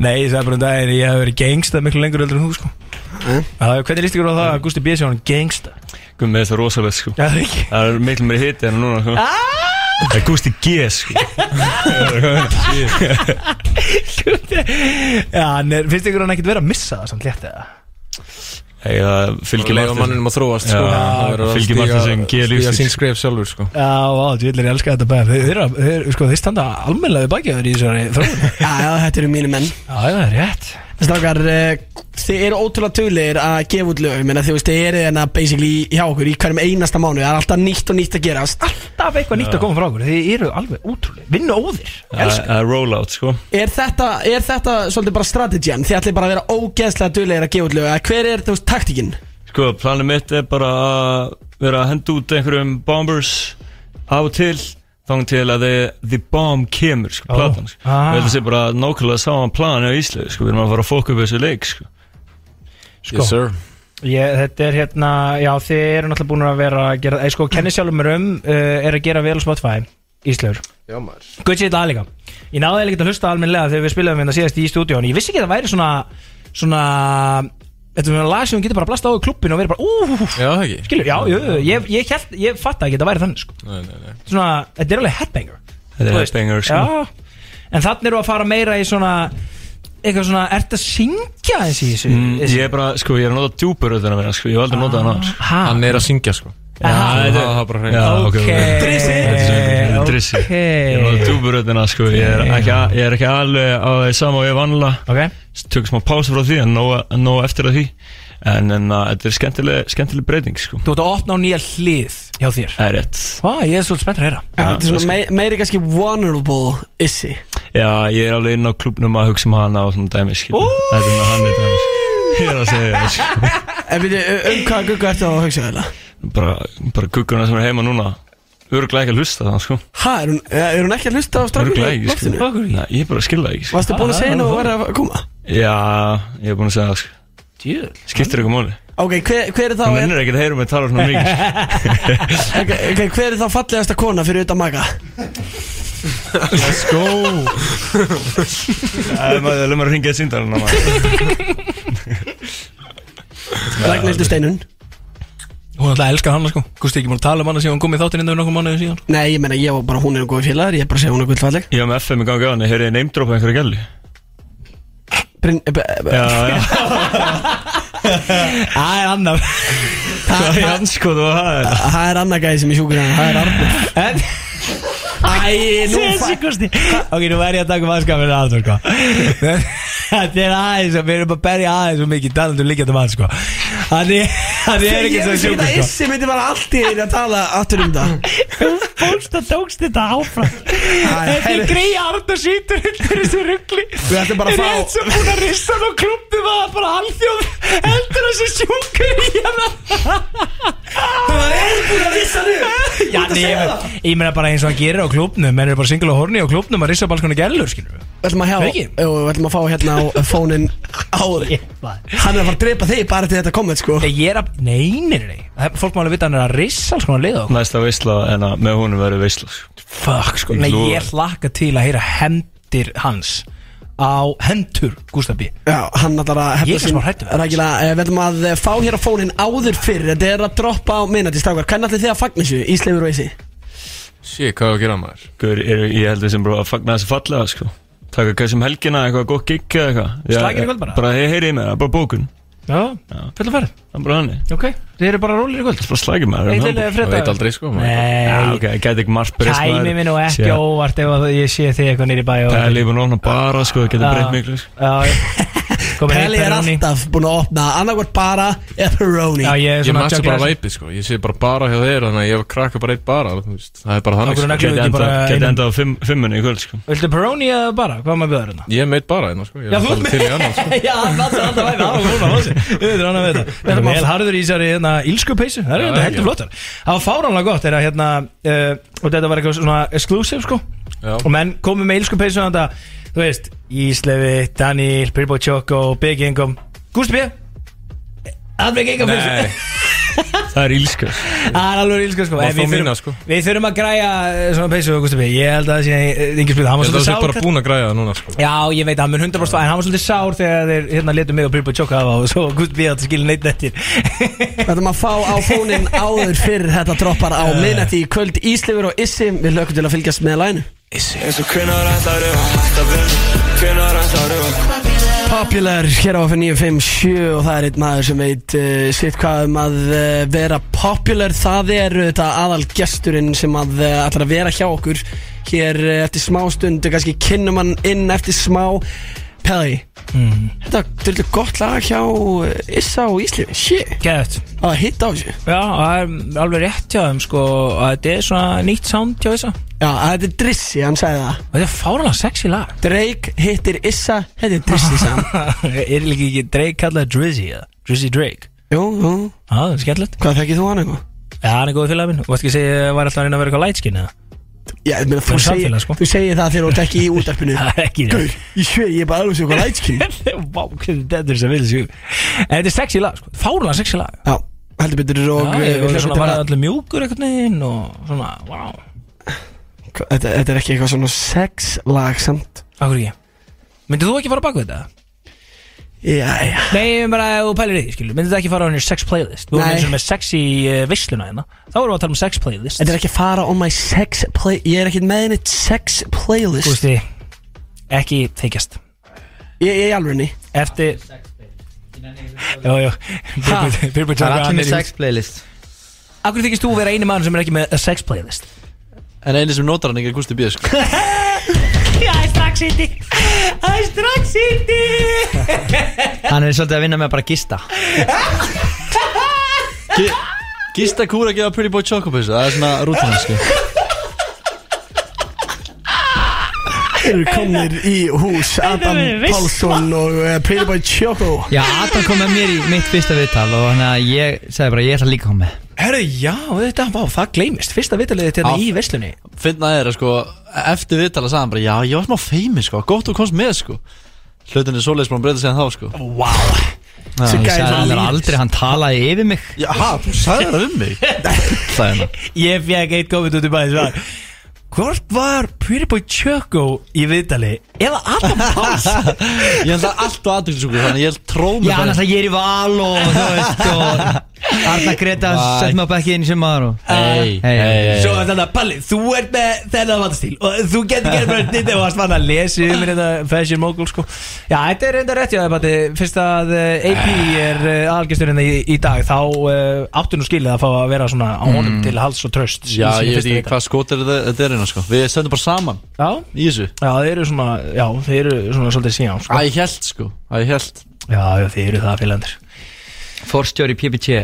S4: Nei, ég sagði bara um daginn, ég hef verið gangsta miklu lengur heldur en þú sko Það, Hvernig líst ykkur á það að Gusti B. sé hann gangsta?
S5: Guð með þetta rosalegt sko
S4: Já, það er ekki
S5: Það er miklu meiri hiti en núna sko
S4: Ah!
S5: Það er Gusti G sko
S4: Já, hann er, finnst ykkur hann ekkert vera að missa það samt létt eða?
S5: Hey, það fylgir
S11: Bara leyfa manninum að þróast, sko. Það verður að
S5: Fylgir
S11: stíga-
S5: Martin sem G
S11: stíga
S5: lífstíl
S11: sín skref sjálfur sko
S4: Já, á, djúðlir, ég elska þetta bæð Þeir, þeir, eru- þeir, sko, þeir standa almennlega við bakið á þér í þessari þróun
S2: Já, já, þetta eru mínu menn
S4: Já, það er rétt
S2: Strákar, eh, þið eru ótrúlega tölir að gefa út lög, ég meina, þú veist, þið eru hérna basically hjá okkur í hverjum einasta mánu, það er alltaf nýtt og nýtt að gerast
S4: Það er eitthvað nýtt að koma frá okkur, þeir eru alveg ótrúlega Vinnu óðir,
S5: Það
S4: elska
S5: það er rollout sko
S2: Er þetta, er þetta svolítið bara strategian? Þið ætlir bara að vera ógeðslega duðlegir að gefa út lög eða Hver er þú veist taktikinn?
S5: Sko, planið mitt er bara að vera að henda út einhverjum bombers á og til þang til að the, the bomb kemur, sko,
S4: Ó.
S5: platan sko.
S4: Ah.
S5: Við ætlum sér bara nákvæmlega saman planið á Íslegu, sko, við erum að fara að fóka upp þessu leik, sko
S4: Sko. Yes,
S11: sir
S4: Ég, þetta er hérna, já þið eru náttúrulega búin að vera að gera, eh, sko, kenni sjálfum mér um uh, er að gera vel á Spotify, Íslaugur
S11: Já maður
S4: Guð sér þetta líka Ég náði eiginlega ekki að hlusta almennilega þegar við spilaðum hérna síðast í stúdíón Ég vissi ekki að það væri svona svona Þetta er svona lag sem við getum bara að blasta á í klubbin og verið bara úf
S11: Já það ekki
S4: Skilur, já, jú, jú, ég, ég, held, ég fatt ekki að þetta væri þannig sko.
S11: Nei, nei, nei
S4: Svona, þetta er alveg headbanger
S5: Þetta
S4: Þú
S5: er
S4: veist,
S5: headbanger, sko
S4: Já, en þannig eru að fara meira í svona Eitthvað svona, ert að syngja þessi í þessu?
S5: Mm, Ég er bara, sko, ég er að nota djúpur auðvitað að vera, sko, ég hef aldrei notað hann áður, sko
S4: Hæ?
S11: Hann er að syngja sko
S4: Aha.
S5: Já, þetta
S11: það er bara hreint.
S5: Já, ok,
S4: Ok.
S5: ok.
S4: Drissi.
S5: Þetta er svona- þetta er Drissi
S4: Ok.
S5: Ég er á túburöðina sko Ég er ekki, að- ég er ekki alveg á því sama og ég vanlega
S4: Ok,
S5: Tökum smá pása frá því En nóg, nóg eftir að því En, en uh, þetta er skemmtileg, skemmtileg breyting sko
S4: þú ert að opna á nýja hlið hjá þér
S5: Það er rétt
S4: Vá, ég er svolítið spenntur að heyra
S2: Ja, þetta er svona mei, meiri kannski vulnerable issi
S5: Já, ég er alveg inn á klubnum að hugsa um hana og svona dæmi skil
S4: Ó.
S5: Þetta er svona hann er dæmi sko. Ég er að segja það sko
S2: En við um hvaða gugga ertu að hugsa þetta?
S5: Bara, bara gugguna sem er heima núna Örglega ekki að hlusta það sko
S2: Ha, er hún, eh, er hún ekki að hlusta á
S5: Örglega
S2: strákunni í
S5: ekki
S2: loftinu?
S5: sko Nei, Ég er bara að skilja það ekki sko
S2: Varstu búin að
S4: Ah,
S2: segja henni og
S4: alveg.
S2: var að koma?
S5: Já, ég er búin að segja það sko
S4: Djöðl
S5: Skiptir eitthvað máli
S2: Ok, hver, hver er þá
S5: Það
S2: er,
S5: mennir ekki að heyra mig tala svona mikið sko.
S2: okay, ok, Hver er þá fallegasta kona fyrir utan maga?
S11: Let's go
S5: Það er maður að lömur að ringja í síndalina maður
S2: Ragnhildur Steinun
S4: Hún alltaf elskar hann sko Gústi ekki múin að tala um hann síðan hún kom í þáttinn innan við nokkuð mánuðið síðan
S2: Nei, ég meina, ég var bara, hún er um góði félagar Ég er bara að segja hún er gullfalleg
S5: Ég var með FM í gangi á hann, heyrði ég neymdrópa einhverju gæli
S2: Bryn, e, e, e,
S5: Já, já,
S4: Það er annar
S5: það er hans sko, þú var það er
S2: Það er annað gæði sem ég sjúkur hann Það er Arnur Æ, nú
S4: Þessi Gústi Ok, nú væri ég að taka maður skafinu aftur sko Þetta er aðeins, við erum að berja aðeins og mikið talandum líkjandi mann sko Hann er, hann er ekki
S2: Ég
S4: svo
S2: vissi
S4: sjúkur
S2: að
S4: sko
S2: Issi myndi bara allt í einu að tala aftur um það
S4: Fólkst að tókst þetta áfram Þetta er
S2: herri.
S4: greið Arna sýtur undir þessu ruggli
S2: Við ætlum bara að fá-
S4: Rétt sem búin að rissa hann og klubbi var bara alþjóð Heldur þessu sjúkur í hérna. hana Það er búin að rissa hann Já, nei, ég, men- ég meina bara eins og hann gerir á klubnum Menn eru bara single og horni á klubnum að rissa bara svona gælur skilur við
S2: Við ætlum að, hjá,
S4: Ekki?
S2: jú, við ætlum að fá hérna á fónin áður Hann er að fara að drepa þig bara til þetta komið sko
S4: Ég er að, nei, nei, nei Það- Fólk má alveg vita að hann er að rissa alls konar lið á okkur.
S5: Næsta veisla en að með honum verður veisla sko.
S4: Fuck sko Nei,
S5: lofa
S4: ég
S5: þér.
S4: hlakka til að heyra hendir hans Á hendur, Gustaf B
S2: Já, hann ætlar að
S4: Ég er smá hræddur við hann.
S2: Rækila, við ætlum að eh, fá hér á fónin áður fyrr Þetta er að droppa á minnati strákar Hvernig ætlir þið að fagna þessu, Ísleifur og Ísi?
S5: Sér, hvað er að gera maður? Guður, er, ég held þessum bara að fagna þessu fallega sko Taka kannski um helgina eitthvað gott gig eða eitthvað Já,
S4: Slakir í kvöld bara?
S5: Bara hey, heyrið mér, það er bara bókun
S4: Já, fulla ferð
S5: Það er bara þannig
S4: Ok, þið eru bara rólir í kvöld
S5: Það er bara slækir maður
S4: Eitt liðlega frétta. Það veit aldrei, sko, maður. Nei.
S5: Já, ok, það gæti ekki margt breyst, maður.
S4: Kæmi mér nú ekki
S5: Sé-
S4: óvart ef að ég sé þig eitthvað nýri bæ og
S5: Pæli er búin að opna bara sko, það getur breytt miklu sko.
S4: miklu
S2: Pelli er alltaf búin að opna Annarkvært bara eða Peroni
S11: Ég mætti bara væpið sko, ég sé bara bara hjá þeir Þannig að ég krakka bara eitt bara þú veist. Það er bara þannig
S4: Af hverju
S11: sko.
S4: neglir þú ekki bara
S11: endað-
S4: einum?
S11: endað á fimm- fimmunni í kvöld sko.
S4: Viltu Peroni eða bara? Hvað maður bjöður hérna?
S11: Ég er meitt bara hérna sko, ég
S4: Já,
S11: er
S4: þú
S11: bara
S4: ert
S11: til í annan sko.
S4: Já, það er alltaf væri Það er hún að hósi Við erum hann að veita Það er vel harður í þessari hérna, ílsku peysu Það er
S11: Já,
S4: hérna
S11: já.
S4: heldur flottar Það var fáránlega gott er að hérna uh, Og þetta var eitthvað svona exclusive sko
S11: Já.
S4: Og menn komið með ílsku peysu Þannig að þú veist Íslefi, Daniel, Pirbo Choco, Big Income Gústi B Alveg ekki að peysu
S5: Það er ílska
S4: Það er alveg ílska sko
S11: Má
S4: En
S11: fá
S4: við þurfum-
S11: mína, sko.
S4: Við þurfum að græja eh, svona peysu Gústi B Ég held að það sé Ingið spil
S11: Ég
S4: Það var
S11: held að það sé
S4: svolítið
S11: bara
S4: sár
S11: búin að græja það núna sko.
S4: Já, ég veit að hann mun 100% svar, en hann var svolítið sár þegar þeir hérna letu mig og Bilbo tjóka af á og svo Gust B. átti skilin neitt eftir
S2: Við ætlum að fá á fónin áður fyrr Þetta droppar á minnati í kvöld Ísleifur og Issi, við lökum til að fylgjast með læginu
S9: Eins og hvenar ætlaru að hætta við Hvenar ætlaru að
S2: Popular hér á F957 og það er einn maður sem veit uh, sitt hvað um að uh, vera popular það er uh, þetta aðal gesturinn sem að uh, ætlar að vera hjá okkur hér uh, eftir smá stund og kannski kynnum hann inn eftir smá Pelli, þetta er þetta gott lag hjá uh, Issa og Ísli shit,
S4: Gæðt
S2: að hitta á þessu
S4: Já, það er alveg rétt hjá þeim sko að þetta er svona nýtt sound hjá þessa og
S2: Já, að þetta er Drissi, hann sagði það
S4: þetta er fárlega sexy lag
S2: Drake hittir Issa, þetta er Drissi saman
S4: Er líka ekki Drake kallað Drizzy eða? Drizzy Drake
S2: Jú, jú,
S4: Já, það er skemmtilegt
S2: hvað þekkið þú hann eitthvað?
S4: Já, hann er góð félag minn og það ekki að segja að ég var alltaf að reyna að vera eitthvað lightskin eða
S2: Já, ég meina, þú,
S4: Fyrir
S2: segir,
S4: samfélag, sko.
S2: þú segir það þegar þú ert ekki í útarpinu
S4: Það er ekki
S2: Gaur, ég svei, ég er bara alveg svo eitthvað lætskinn
S4: Vá, hvernig þetta er sem vil sig En þetta er sexy lag sko, fárlega sexy lag
S2: Já, heldur betur og
S4: Já,
S2: eh,
S4: ég hérna
S2: við
S4: var
S2: hlökkum
S4: svona
S2: til
S4: að
S2: að-
S4: allir mjúkur einhvern veginn og svona, wow
S2: Hva- þetta, þetta er ekki eitthvað svona sex lag samt
S4: Akkur ekki Myndið þú ekki fara á bak við þetta?
S2: Já, já,
S4: Nei, ég er bara ef þú pælir í því, skilur Myndið þú ekki fara á henni sex playlist? Þú erum
S2: Nei.
S4: eins og með sexy uh, vissluna hérna Þá erum við að tala um sex playlist
S2: þetta er ekki að fara on my sex play Ég er ekki með henni sex playlist
S4: Gústi, ekki þykjast
S2: Ég, ég er alveg henni
S4: Eftir Jó, jó Byrbu
S6: Það er allir með sex playlist
S4: Akkur þykist þú vera einu mann sem er ekki með a sex playlist?
S6: En einu sem notar hann ekki er Gusti B sko.
S4: Það er strax ítti Það er strax ítti
S6: Hann er svolítið að vinna með að bara gista Gi Gista kúra að gefa Pretty Boy Choco Chocopiss Það er svona rútina sko.
S2: Þeir eru komnir í hús Adam Pálsson og uh, Pretty Boy Choco
S6: Já, Adam kom með mér í mitt fyrsta viðtal Og hann að ég sagði bara ég ætla líka að koma með
S4: Herru, já, þetta, vá, það gleymist Fyrsta vitaliðið til
S6: Á.
S4: þetta í visslunni
S6: Finna er að sko Eftir viðtala sagði hann bara Já, ég var smá feimi sko Gótt þú komst með sko Hlutin er svoleiðis bara breyta sig en þá sko
S4: Vá
S6: Já,
S2: Svo
S6: ég
S2: gæði
S6: sagði
S2: hann
S6: hann er
S2: lífs.
S6: aldrei, hann talaði yfir mig Já, þú sagði það um mig Það er hann
S4: Ég fekk eitt komið út í bæði svar Hvort var Pretty Boy Choco í viðtali eða Adam Páls?
S6: Ég er alltaf allt og aðduglisúkur Þannig að ég tróð mig
S12: Já, annars að ég er í val og þú veist og Arna Greta
S6: Væ.
S12: sett mig á bekki inn sem maður og
S6: Hei, hei,
S4: Svo
S6: hei
S4: er þetta, Palli, þú ert með þennan vantastíl og þú getur gerð bara nýtt og varst vann að lesa yfir þetta Fashion Mogul sko Já, þetta er reynda rétt, já, Patti Fyrst að eh, AP er algjörstjörinn í, í dag þá uh, áttu nú skilið að fá að vera svona á honum til hals og tröst í
S6: Mm. Já, ég veit
S4: sínu fyrsta
S6: ekki
S4: viðtali.
S6: hvað skot er þetta þetta er hérna sko Við sendum bara saman
S4: Já
S6: Í þessu
S4: Já, þeir eru svona, já, þeir eru svona svolítið síðan
S6: Æ,
S4: sko.
S6: ég held sko, æ, ég held
S4: Já, já, þeir eru það félagandir
S12: Forstjóri PPT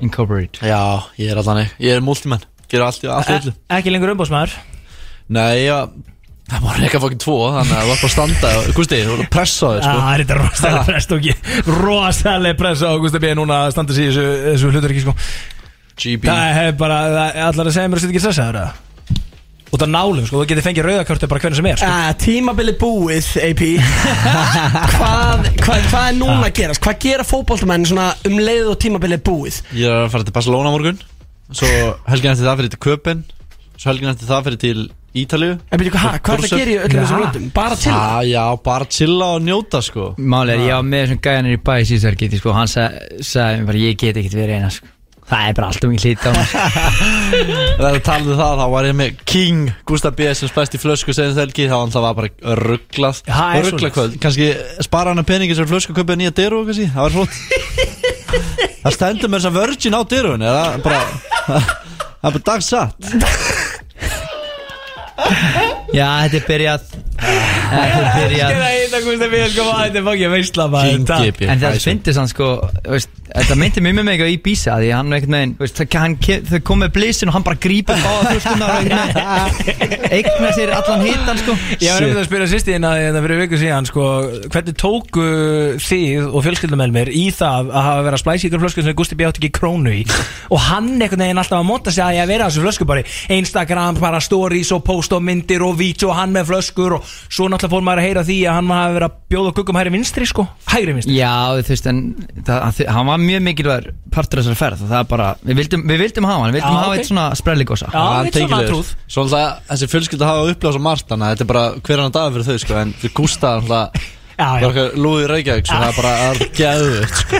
S12: Incorporate
S6: Já, ég er allan ekki, ég er multimenn Gerur allt í allt
S4: Eh?
S6: í öllu
S4: Ekki lengur umbóðsmaður
S6: Nei, já, það var reyka fokkin tvo Þannig að það var bara að standa Gusti, þú voru að pressa þér
S4: Já,
S6: sko
S4: það er þetta rosalega press og ekki Rosalega press á Gustaf B. núna að standa sig í þessu, þessu hluturki sko
S6: GB
S4: Það hefur bara, það allar að segja mér að þetta ekki stressaður eða? Út af nálum sko, þú getur fengið rauðakartu bara hvernig sem er sko.
S2: Ah, tímabili búið, AP hvað, hvað, hvað er núna að gerast? Hvað gera fótboltamenn svona um leið og tímabili er búið?
S6: Ég er að fara til Barcelona á morgun Svo helgin eftir það fyrir til Köpen Svo helgin eftir það fyrir til Ítalíu
S2: En Eh, byrju, hvað- hvað ertu að gera í öllum þessum löndum? Bara chilla?
S6: Já, já, bara chilla og njóta sko
S12: Máli er ég á með þessum gæjanir í bæ síðar geti sko Hann sagði sag, bara ég get ekkert verið eina sko Það er bara allt um ekki hlýta á mig sko.
S6: Það er að tala um það, þá var ég með King Gustaf B. sem spæst í flösku senast helgi þá var það var bara rugglað
S12: það er svoleiðis.
S6: Rugglaköld, kannski spara hana peningi sem flösku köpja nýja dyru og kannski, það var flott Það stendur með þess að virgin á dyrunni það er bara það er bara dagsatt
S12: Já, þetta er byrjað Þetta er byrjað
S4: Þetta er það Gustaf B. sko, vá, þetta er fokkið veistla maður
S12: En
S4: Takk.
S12: það finnst hann sko veist, Þetta myndi mjög með mig á Ibiza Því hann ekkert megin veist, það- hann ke- Þau kom með blísin og hann bara grípa Báða þurftunar og eigna Eigna sér allan hitan sko
S4: Ég var einmitt að spyrja sýstíðina þetta fyrir viku síðan sko, hvernig tóku þið og fjölskyldumelmir í það að hafa verið að splæsi ykkur flösku sem Gusti B. átti ekki krónu í og hann einhvern veginn alltaf að móta sig að ég að vera að þessu flösku bara í Instagram, bara stories og post og myndir og vídeo og hann með flöskur og svo náttúrulega fór maður að heyra því að hann hafa verið að bjóða guggum hægri vinstri sko hægri vinstri
S12: Já, þú veist, en það, hann- hann var mjög mikilvægur partur þessar ferð og það er bara, við vildum, við vildum hafa hann, við vildum
S6: Já,
S12: hafa
S6: ok.
S12: eitt svona sprelligosa
S6: Hann tengiliður. Svo alltaf þessi fjölskylda hafa uppláð svo margt þannig að þetta er bara hver annan dag fyrir þau sko, en fyrir Gústa alltaf
S12: Mm.
S4: Já, já.
S6: bara okkar lúði Reykjavík svo það er bara að geðu sko.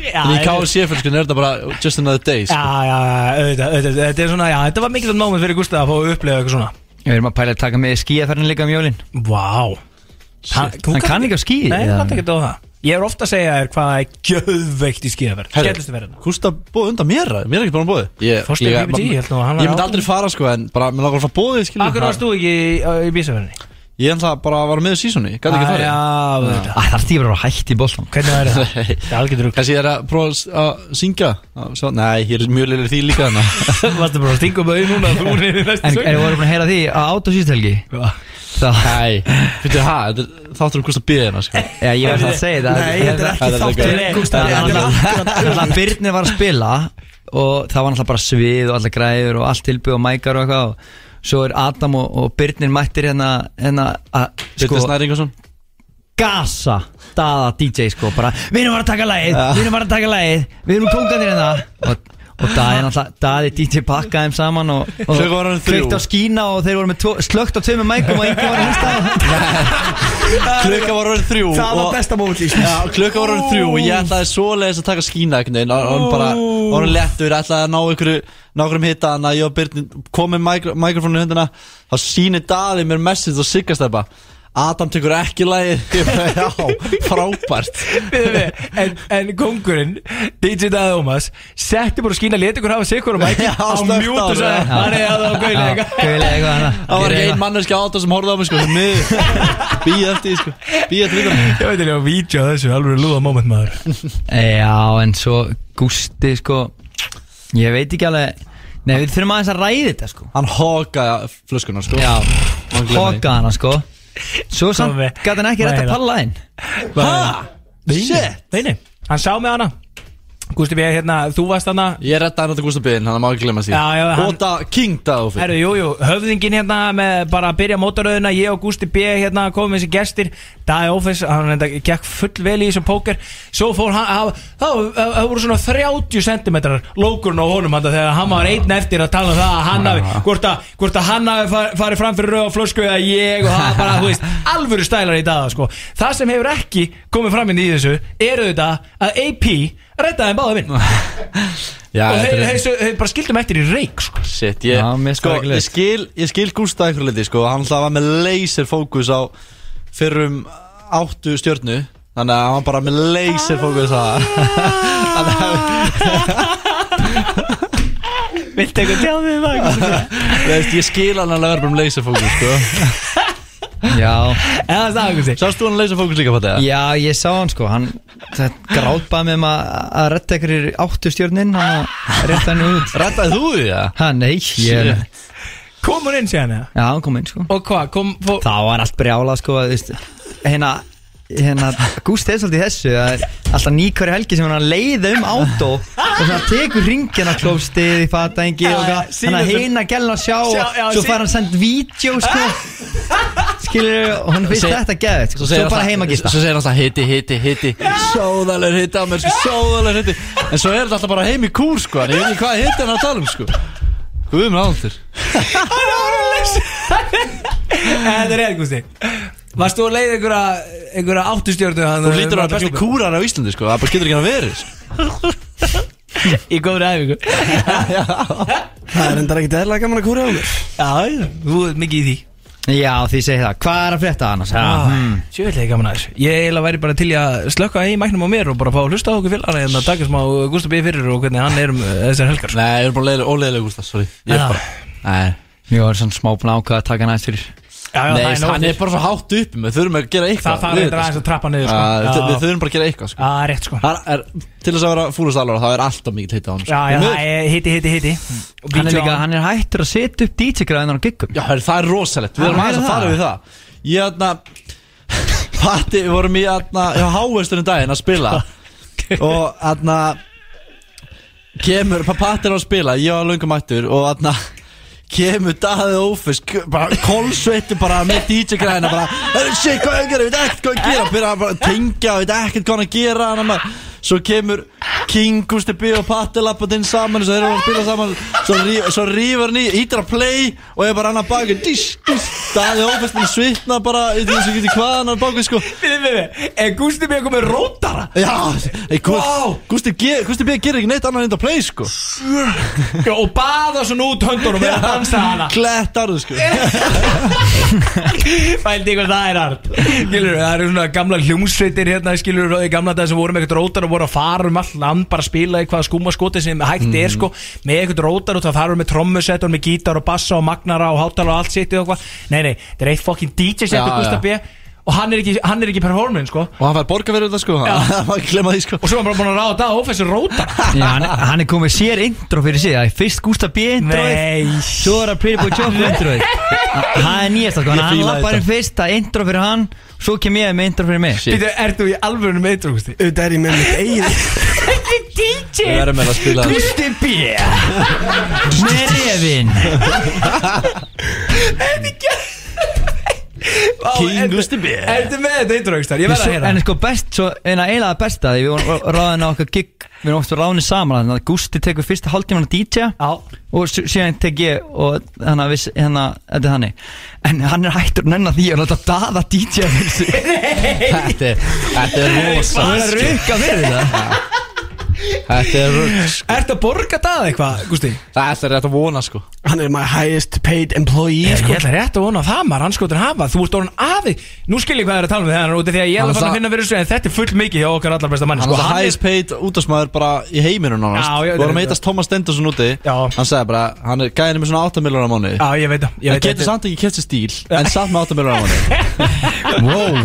S4: Já,
S6: En í
S4: ég-
S6: KFC fjölskyldinu er þetta bara just another day sko.
S4: Já, já, já, auðvitað, auðvitað, þetta er svona, já, þetta var mikilvægt moment fyrir Gustaf að fá að upplega eitthvað svona
S12: Við erum að pæla að taka með skíaferðin líka um jólin
S4: Vá Hann
S12: Hann kann ekki á skí
S4: Nei,
S12: eða?
S4: hann kann ekki á það Ég er ofta að segja þér hvað er gjöðveikt í skíðaverð Skellustu verðina
S6: Gústa bóð undan mér, mér er ekki bara bóði Ég,
S4: Fórstu í
S6: líka-
S4: PPG, hérna. ég held nú að hann væri
S6: Ég myndi
S4: á-
S6: aldrei fara sko en bara mér langar að fara bóði skilur
S4: Akkur varst þú ekki í, í bísaverðinni?
S6: Ég enda bara að vara með sísoni, gæti ekki
S4: Ah,
S6: farið
S4: já, auðvitað.
S12: Það er tíma bara hætt í bóltan
S4: Hvernig væri það?
S6: Það
S4: er algjörður
S6: Kanski ég er að prófa að s- að syngja að sjá- Nei, ég er mjög liður því líka hana
S4: Varstu bara að stinga um auðvitað núna Þú niður í næstu
S12: En erum við búin að heyra því á át og síðstelgi?
S6: Nei, fyrir hæ, þetta er þáttur um Gústa Bíðina sko
S12: Já, ég var það að segja það Þannig að Birnir var að spila og það var náttúrulega bara svið og allar græður og allt tilbyggð og mækar og eitthvað og svo er Adam og, og Birnir mættir hérna, hérna að
S6: Birnir Snæringarsson
S12: Gasa, daða DJ sko bara, við erum bara að taka lagið, við erum bara að taka lagið við erum tókandir hérna og, og daði náttúrulega, daði DJ pakkaði þeim saman og, og
S6: Þau voru orðin þrjú.
S12: kveikt á skína og þeir voru með tvo, slögt á tveimur mækum og einhver var að hlusta á
S6: Klukka var orðin þrjú
S12: Það var
S6: og-
S12: besta moment lífsins.
S6: Já, klukka var orðin þrjú og ég ætlaði svoleiðis að taka skína einhvern veginn og hann bara, og hann lettur ætlaði að ná einhverju, ná einhverjum hitta þannig að ég og Byrnin komið mikrofónu í hundina þá sýnir Daði mér message og siggast það bara Adam tekur ekki lægið Ég bara, Já, frábært
S4: Bíddu við, en, en kongurinn DJ Dada Ómas setti bara skína leti ykkur hafa sikur og mæki
S6: Já,
S4: á
S6: slökkt
S4: mjút
S6: á
S4: og sagði
S6: þessu.
S4: hann er að það á gaulega eitthvað."
S6: Það var ekki ein manneski á þetta sem horfði á mig sko Býð eftir því, sko Býð eftir því
S4: Ég veit ekki á vídeo af þessu alveg lúða moment maður
S12: Já, en svo Gústi sko Ég veit ekki alveg Nei, við þurfum aðeins að ræði þetta sko
S6: Hann hókaði flöskuna sko
S12: Já,
S6: Má ekki gleyma því.
S12: hókaði hana sko Svo samt gæti hann ekki rétt að palla inn
S4: Shit Nei, nei, hann sá mig hana Gústi B. hérna, þú varst hana
S6: Ég reddaði hann þetta Gústa Byrnin, hann má ekki glemma því
S4: Já, já, hann-
S6: Og da, King Daði
S4: Herru, jú, jú, höfðingin hérna með bara að byrja mótaröðuna, ég og Gústi B hérna komum með þessi gestir, Dagi Ófis hann enda gekk full vel í þessum póker svo fór hann, hann- þá það voru svona 30 cm lókurinn á honum hann þegar hann var einn eftir að tala um það að hann hafi, hvort að, hvort að hann hafi fa- farið fram fyrir rauða flösku eða ég og það bara, þú veist, alvöru stælar í dag sko. það sem hefur ekki komið fram inn í þessu eru þetta að AP reddaði þeim báða minn
S6: Já,
S4: og
S6: þetta
S4: þeir,
S6: er-
S4: þeir, þeir, þeir bara skildum eftir í reik sko.
S6: Shit, ég,
S4: Já, mér
S6: sko,
S4: finnst það
S6: ég,
S4: ekki
S6: skil, ég skil Gústa einhver liti sko, hann alltaf var með laser fókus á fyrrum áttu stjörnu þannig að hann var bara með laser fókus á það Þannig að-
S4: Viltu eitthvað tjá þig það?
S6: Veist, ég skil hann alveg verður um leysafókus sko.
S12: Já
S4: Eða það er eitthvað
S6: Sástu hann leysafókus líka på þetta?
S12: Já, ég sá hann sko, hann grátbaði með maður um að retta ykkur áttu stjórnin, hann að retta hann út
S6: Rettaði þú því það?
S12: Ha, nei, ég,
S4: Kom hún inn síðan eða?
S12: já, hann kom inn sko
S4: Og hvað, kom fó...
S12: Það var allt brjála sko, þú veist, hérna, hérna, Gústi er svolítið í þessu, það er alltaf nýkværi helgi sem hann er að leiða um átó og svona tekur ringina klófstið í fataengi
S4: Já,
S12: og
S4: já,
S12: hvað,
S4: sýnir
S12: hann að
S4: þeim.
S12: heina gælna að sjá
S4: Sjá,
S12: og
S4: já,
S12: svo
S4: sýn-
S12: fær hann sendt vídeo sko, skilur, og hann finnst
S6: Seg-
S12: þetta geðið, sko,
S6: Svo
S12: svo
S6: segir
S12: bara heima
S6: alltaf-
S12: gista.
S6: svo segir hann alltaf hitti, hitti, hitti Sóðalegur hitti á mér, sko, sóðalegur hitti En svo er þetta alltaf bara heim í kúr, sko En ég veit ekki hvað hitti hann er að tala um, sko Guð minn áldur
S4: Þetta er eitthvað Varst þú að leiða einhverja, einhverja áttustjörnu
S6: Þú lítur á að besti kúrar á Íslandi, sko Það bara getur ekki hann að vera, sko
S4: Í góðri æfingu
S2: Það er endar ekkert eðla gaman að kúra á mér
S4: Já, já, þú er mikið í því
S12: Já, því segi það, hvað er að frétta annars? Já,
S4: Ah,
S12: hmm.
S4: Sjöfellegi gaman aðeins Ég eiginlega væri bara til í að slökka í mæknum á mér og bara fá að hlusta á okkur félagana en að taka smá Gustaf B. fyrir og hvernig hann er um eh, þessar helgar
S6: Nei, ég er bara leiðileg- óleiðileg, Gústa, sorry Ég er
S4: Já.
S6: bara, nei
S12: Ég var svona smá búin að ákveða að taka hann aðeins fyrir
S4: Já, já,
S6: Nei,
S4: það er nóg
S6: hann er
S4: eftir.
S6: bara svo hátt upp Við þurfum að gera eitthvað
S4: Það þarf
S6: við
S4: reyndar
S6: þetta,
S4: aðeins
S6: sko.
S4: að trappa niður, sko.
S6: Já, við-
S4: Já.
S6: Við þurfum bara að gera eitthvað, sko
S4: Já, rétt sko
S6: Það er, til þess að vera fúlust alvara, það er alltaf mikið hitt á sko. hann
S4: Já, já, eh, það er hitti, hitti, hitti Og
S12: Hann er
S4: vídeo
S12: líka,
S4: á-
S12: hann er hættur að setja upp DJ-græðunar á giggum
S6: Já, herri, það er rosalegt, við
S12: Já,
S6: erum
S12: er
S6: aðeins að
S12: það?
S6: fara við það Ég aðna Patti, við vorum í hérna, aðna Já, háesturinn um daginn að spila Og aðna Kemur, Patti er að spila Ég var löngum mættur og aðna Kemur daðið ófis Bara kolsveittu bara með DJ græna Bara, "Herri, shit, hvað er að gera, við veit ekkert hvað er að gera Byrja bara að tengja, við veit ekkert hvað er að gera Þannig að maður Svo kemur King, Gusti B og Patti lappað inn saman Svo þeir eru að spila saman Svo, ríf, svo rífur hann í, ítir að play Og ég bara annar baki Dís, dís Daði ófæst með svitna bara Í því sem getur hvað hann baki sko
S4: Fyrir, fyrir, er Gústi B. komið rótara?
S6: Já, ei, wow. Gusti, G- Gusti B gerir ekki neitt annað en að play sko
S4: Já, Og baða svona út höndunum og er að dansa hana
S6: Klettarðu sko
S4: Fældi ykkur það er hart Skilur, það eru svona gamla hljómsveitir hérna Skilur, í gamla dag sem voru með eitthvað rótar Og voru að fara um all land Bara að spila í hvaða skúmaskoti sem hægt
S6: Mhm.
S4: er sko Með eitthvað rótar og það fara með trommusett Og með gítar og bassa og magnara og hátala og allt sitið og eitthvað Nei, nei, þetta er eitt fokkin DJ
S6: Já,
S4: setið Gustaf B
S6: já.
S4: Og hann er ekki, hann er ekki performance sko
S6: Og hann fær borga fyrir þetta sko
S4: Já.
S6: Það má ekki glemma því sko
S4: Og svo er hann bara búin að ráða það Ófessi rótar
S12: Já, hann, hann er komið sér intro fyrir sig Það er fyrst Gustaf B. introið
S4: Nei
S12: Svo er það Pretty Boy Choco introið Það er nýjast sko,
S6: Ég
S12: hann
S6: fíla
S12: lappar
S6: þetta.
S12: inn fyrst Það er intro fyrir hann, svo kem ég með intro fyrir mig
S6: Shit.
S4: Býtu, ert þú í alvörunum eitthvað, Gusti?
S2: Auðvitað er ég með mitt eigið
S6: Við
S4: DJ
S6: verðum með að spila það
S4: Gusti B
S12: Með refin
S4: Vá,
S6: King
S4: ertu-
S6: Gusti B.
S4: Ertu með þetta intro, Gusti? Ég verð að
S12: Svo-
S4: heyra
S12: En sko best, svo, en að eiginlega besta Því við vorum ráðin á okkar gig Við vorum oft ráðin saman Þannig að Gusti tekur fyrsta hálftíman að DJ
S4: Já
S12: og s- síðan tek ég og þannig að viss, hérna, þetta er þannig en hann er hættur að nennan því og láta daða DJ fyrir sig
S6: Þetta er, þetta er rosa
S12: Það er að rukka fyrir þetta
S6: Þetta er rugg
S4: Ertu að borga það eitthvað, Gusti?
S6: Þetta er rétt að vona sko
S2: Hann er my highest paid employee
S4: Ég
S2: sko.
S4: ætla rétt að vona að það maður, anskotin hafa Þú ert orðin afi Nú skil ég hvað það er að tala um þegar úti Því að ég er
S6: Hann
S4: að fara
S6: það-
S4: að finna fyrir þessu En þetta er full mikið hjá okkar allar besta manni
S6: Hann
S4: sko.
S6: var það
S4: Hann er-
S6: highest paid útastmaður bara í heiminum nánast
S4: Já,
S6: Við
S4: já,
S6: vorum
S4: þetta-
S6: að heitast Thomas Stenderson úti
S4: Já.
S6: Hann sagði bara, hann er gæðin með svona 8 miljonar á mánu
S4: Já, ég veit það ég
S6: Hann
S4: veit
S6: getur
S4: þetta.
S6: samt ekki kæft sér stíl En samt með 8 miljonar á mánu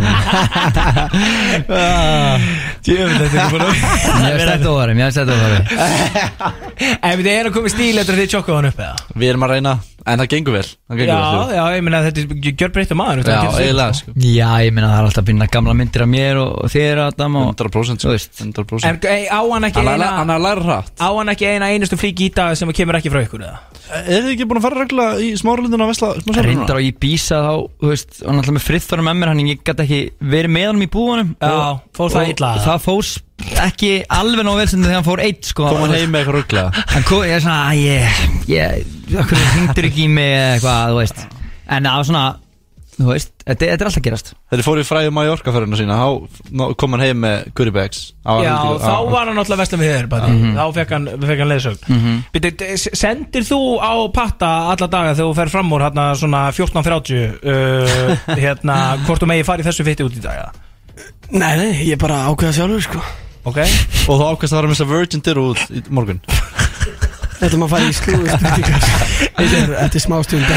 S4: Djöfull, þetta er búin að-
S12: Mér finnst þetta óvarum, mér finnst þetta óvarum
S4: En þetta er að koma í stíl eftir að þið tjokkaðu hann upp eða?
S6: Við erum að reyna, en það gengur vel Það gengur
S4: Já,
S6: vel
S4: já, ég meina þetta er gjörbreytta maður
S6: þú-
S4: þetta
S6: Já,
S4: getur séð,
S6: eiginlega
S4: sko.
S6: sko
S12: Já, ég minna það er alltaf að finna gamla myndir af mér og, og þér að dama og
S6: 100% sko
S12: Þú veist.
S6: 100%
S4: En ey, á hann ekki
S6: Hann er
S4: eina
S6: hann er að læra hratt
S4: Á hann ekki eina einustu frík í dag sem kemur ekki frá ykkur eða?
S6: Er þið ekki búin að fara regla í smáralindina að vesla
S12: reyndar á ég býsa þá, þú veist, og náttúrulega með frittþórum með mér hann, ég gæti ekki verið með hann í búanum
S4: Já,
S12: og-
S4: fór það
S12: og
S4: illa?
S12: Það fór ekki alveg nóg vel sem þegar hann fór eitt sko
S6: Kom hann heim með eitthvað ruggla
S12: Hann kom, ég er svona, æ, ég, ég, okkur hringdur ekki í mig eða eitthvað, þú veist En það var svona, þú veist, þetta, þetta er alltaf að gerast
S6: Þegar þið fóru í fræði Mallorca-ferðina sína Þá ná- kom hann heim með goodie bags Á
S4: Já,
S6: Arnaldi-
S4: þá
S6: á-
S4: var hann alltaf vestlum við þér Bati.
S6: Mhm.
S4: Þá fekk hann, fekk hann leðsögn mm Sendir þú á patta alla daga þegar þú fer fram úr hérna, svona 14.30 uh, hérna, hvort þú megi farið þessu fytti út í dag eða?
S2: Nei, nei, ég bara ákveða sjálfur sko
S4: Ok?
S6: Og þá ákvæmst að fara með þess að Virgin dyr út í morgun
S2: Þetta er maður að fara í slúðspurningar Þetta er- þetta er smá stund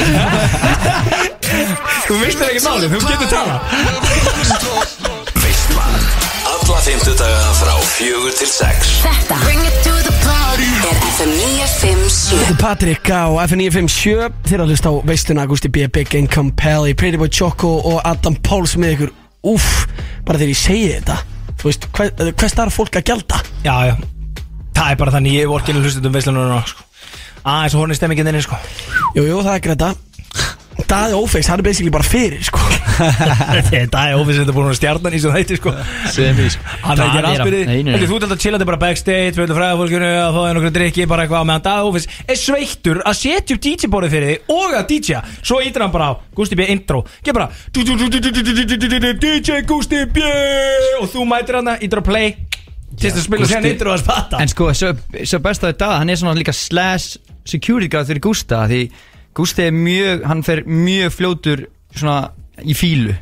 S4: Þú veist það ekki málið, þú getur tala
S9: Veistlan Alla fymtudaga frá fjögur til sex
S7: Þetta er FM 957
S2: Þetta er Patrik á F957 Þeir að hlusta á veistuna Agusti B. Big Income Pally Pretty Boy Choco og Adam Páls með ykkur Úff, bara þegar ég segi þetta Þú veist, hver, hvers þarf fólk að gjalda?
S4: Já, já, það er bara þannig ég vorkinu hlustundum veislanuna sko. aðeins og hún er stemmingin þinni sko.
S2: Jú, jú, það er greta Daði Ófeis, hann er basically bara fyrir sko.
S4: Þetta er ofis þetta búin að vera stjarnan í sem þætti sko.
S6: Sem í, sko.
S4: Hann er ekki
S6: Daði er að-
S4: rafbyrði
S6: Nei, nei, nei.
S4: Þú ert alltaf chillandi bara backstage Við viljum fræða fólkinu að fá einhverju drikki Bara eitthvað meðan dag ofis Er sveittur að setja upp DJ-borðið fyrir þig Og að DJ-a Svo ítir hann bara á Gusti B intro Geð bara du- du- du- du- du- du- du- du- du- du- du- DJ Gusti B Og þú mætir hann Ítir á play Til þess að spila sér intro að spata
S12: En sko, svo, svo best að þetta Hann er svona líka slash security guard fyrir Gústa Því Gústi er mjög Hann fer mjög fljótur svona í fílu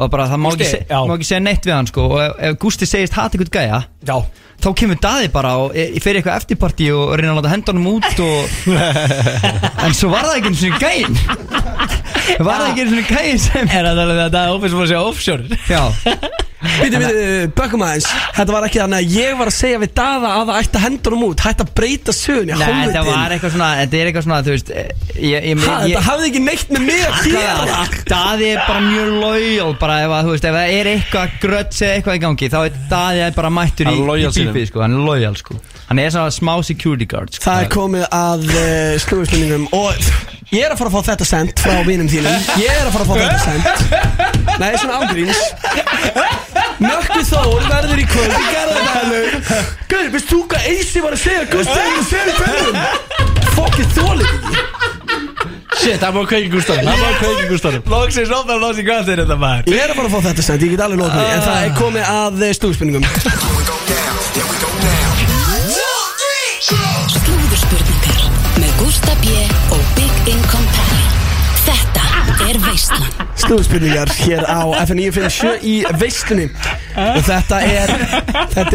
S12: Og bara það má,
S4: Gústi,
S12: ekki, se,
S4: já.
S12: má ekki segja neitt við hann sko Og ef, ef Gústi segist hata ykkur gæja
S4: Já
S12: Þá kemur Daði bara og e, fer í eitthvað eftirparti og reyna að láta hendunum út og, En svo var það ekki einu svona gæin Var það ekki einu svona gæin sem
S4: Er það alveg að Daði Ófis var að segja offshore
S12: Já
S2: Býtu, býtu, bökum aðeins Þetta var ekki þannig að ég var að segja við Daða að það ætti að hendunum út Hætti að breyta sögun í
S12: Nei, þetta var
S2: hálfutin
S12: eitthvað svona, þetta er eitthvað svona, þú veist eh, ég, ég,
S2: Ha,
S12: ég,
S2: þetta hafði ekki neitt með mig að gera.
S12: Daði er bara mjög lojal bara ef að, þú veist, ef það er eitthvað gröts eða eitthvað í gangi, þá er Daði bara mættur í,
S6: Hann er
S12: í
S6: loyal sínum.
S12: bífið, sko, hann er lojal, sko Hann er svona smá security guard, sko
S2: Það er komið að uh, slúðspurningum og ég er að fara að fá þetta sendt frá vinum þínum Ég er að fara að fá þetta sendt Nei, svona ángríns Mökku Þór verður í kvöld í Garðabæðalög Gauður, veist þú hvað Eysi var að segja Gustaf er að segja fennum Fokkið þólið
S6: Shit, það má kveiki Gústaf Það má kveiki Gústaf
S4: Lóksins ofnar að lási hvað þeir þetta maður
S2: Ég er að fara að fá þetta sendt, ég get alveg lóð því En það er komið að eh, slúðspurningum
S7: Slúðurspurningar með Gústa B. og Big Income Pally Þetta er Veistlan
S2: Slúðspurningar hér á FN957 í veistlunni Og þetta er Þetta er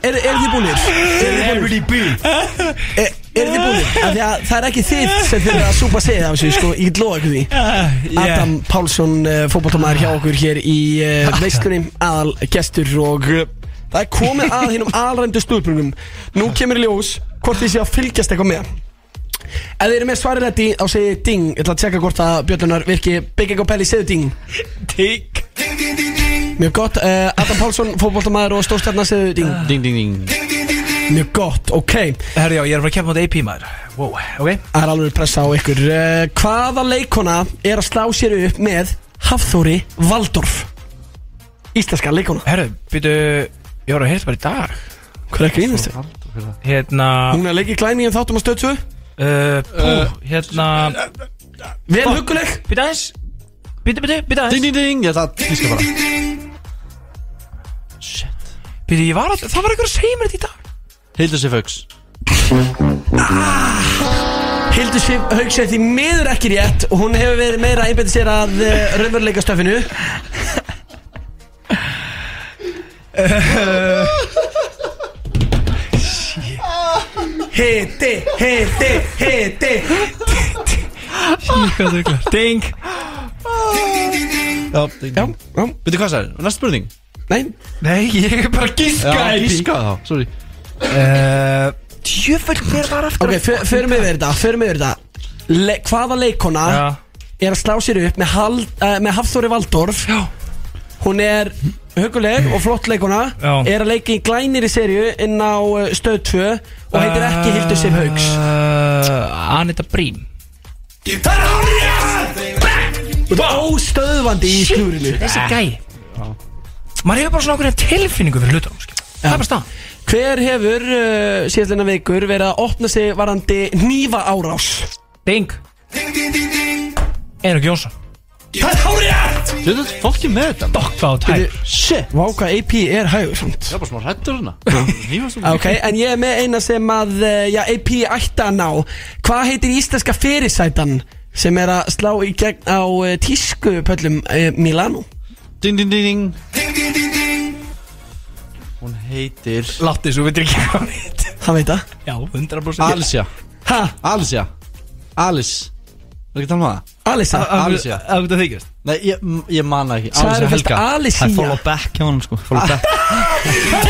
S2: Er, er þið búinir? Everybody beat Er, Eh, er þið búinir? Af því að það er ekki þið sem þið að súpa segið af þessu sko, Ég get lofa ykkur því
S12: Ah,
S2: Adam Pálsson, uh, fótballtómaður hjá okkur hér í uh, veistlunni Aðal gestur og uh, Það er komið að hinnum alrændu slúðspurningum Nú kemur í ljós hvort þið séu að fylgjast eitthvað með Ef þið eru með svarið rétti á segi ding Ég ætla að tjekka hvort að bjöllunar virki Bygging og Pelli segðu ding
S4: Tík
S2: Mjög gott uh, Adam Pálsson, fótboltamæður og stórstjarnar segðu ding
S6: Ding, ding, ding
S2: Mjög gott, ok
S4: Herri já, ég er að fara að kemja mot AP maður Wow, ok
S2: Það er alveg pressa á ykkur uh, Hvaða leikona er að slá sér upp með Hafþóri Valdorf Íslenska leikona
S4: Herru, byrju, ég var að heyrta bara í dag
S2: Hvað er grínast þið?
S4: Hérna
S2: Hún er að leika í glæningum þáttum að stöðsu
S4: uh, Pú,
S6: Eh.
S4: hérna
S2: Vel huguleg
S4: Byrju aðeins Byrju, byrju,
S6: Ding,
S4: byrju aðeins
S6: ding, ding Ég ætla að tíska bara
S4: Byrju, ég var að, það var eitthvað að segja mér þetta í dag
S6: Hildur sér fögs
S2: Hildur Sif Haukseth í miður ekki rétt Hún hefur verið meira að einbæta sér að uh, raunveruleika stöfinu Hitti, hitti, hitti
S4: Hvað er eitthvað? Ding
S6: Já, ding, ding
S2: já.
S6: Veitu hvað það er? Næsta spurning
S2: Nei,
S4: Nei, ég er bara að gíska
S6: Já, gíska þá Sorry
S4: Uh, Tjöfull, hver var aftur
S2: ok, för- förum yfir þetta Förum yfir þetta Le Hvaða leikona
S4: Já
S2: er að slá sér upp með, hal, uh, með Hafþóri Valdorf
S4: Já.
S2: Hún er huguleg og flott leikona
S4: Já.
S2: Er að leika í glænir í serju inn á uh, stöð 2 Og heitir ekki Hildur Sif Hauks
S4: uh, Anita Brím
S2: Þú ert óstöðvandi í slúrinu
S4: Þessi gæ Ah. Maður hefur bara svona okkur tilfinningu fyrir hlutum skilur. Það er bara stað
S2: Hver hefur uh, síðastleina vikur verið að opna sig varandi nýfa árás?
S4: Ding Einar Jónsson
S2: Það er hárið!
S6: Þú veit, fólk er með þetta
S4: Dokk á tæp
S2: Shit Vá hvað AP er hægur samt
S6: Ég er bara smá hrættur hérna Hýfast þú
S2: Ok, en ég er með eina sem að uh, já, AP ætti að ná Hvað heitir íslenska fyrirsætan sem er að slá í gegn á uh, tískupöllum uh, Milano?
S6: Ding, ding, ding, ding Ding, ding, ding, ding Hún heitir
S4: Látti svo veitir ekki hvað hann heit
S2: Hann veit það
S4: Já, 100%
S6: Alicia
S2: Hæ?
S6: Alicia Alice Var ekki að tala um það?
S2: Alisa
S6: Alicia
S4: Það er þykist
S6: Nei, ég, ég man það ekki
S12: Sagðirðu
S6: Alicia
S12: fyrst
S6: Helga
S12: Alicia? Það er follow back hjá honum sko Follow back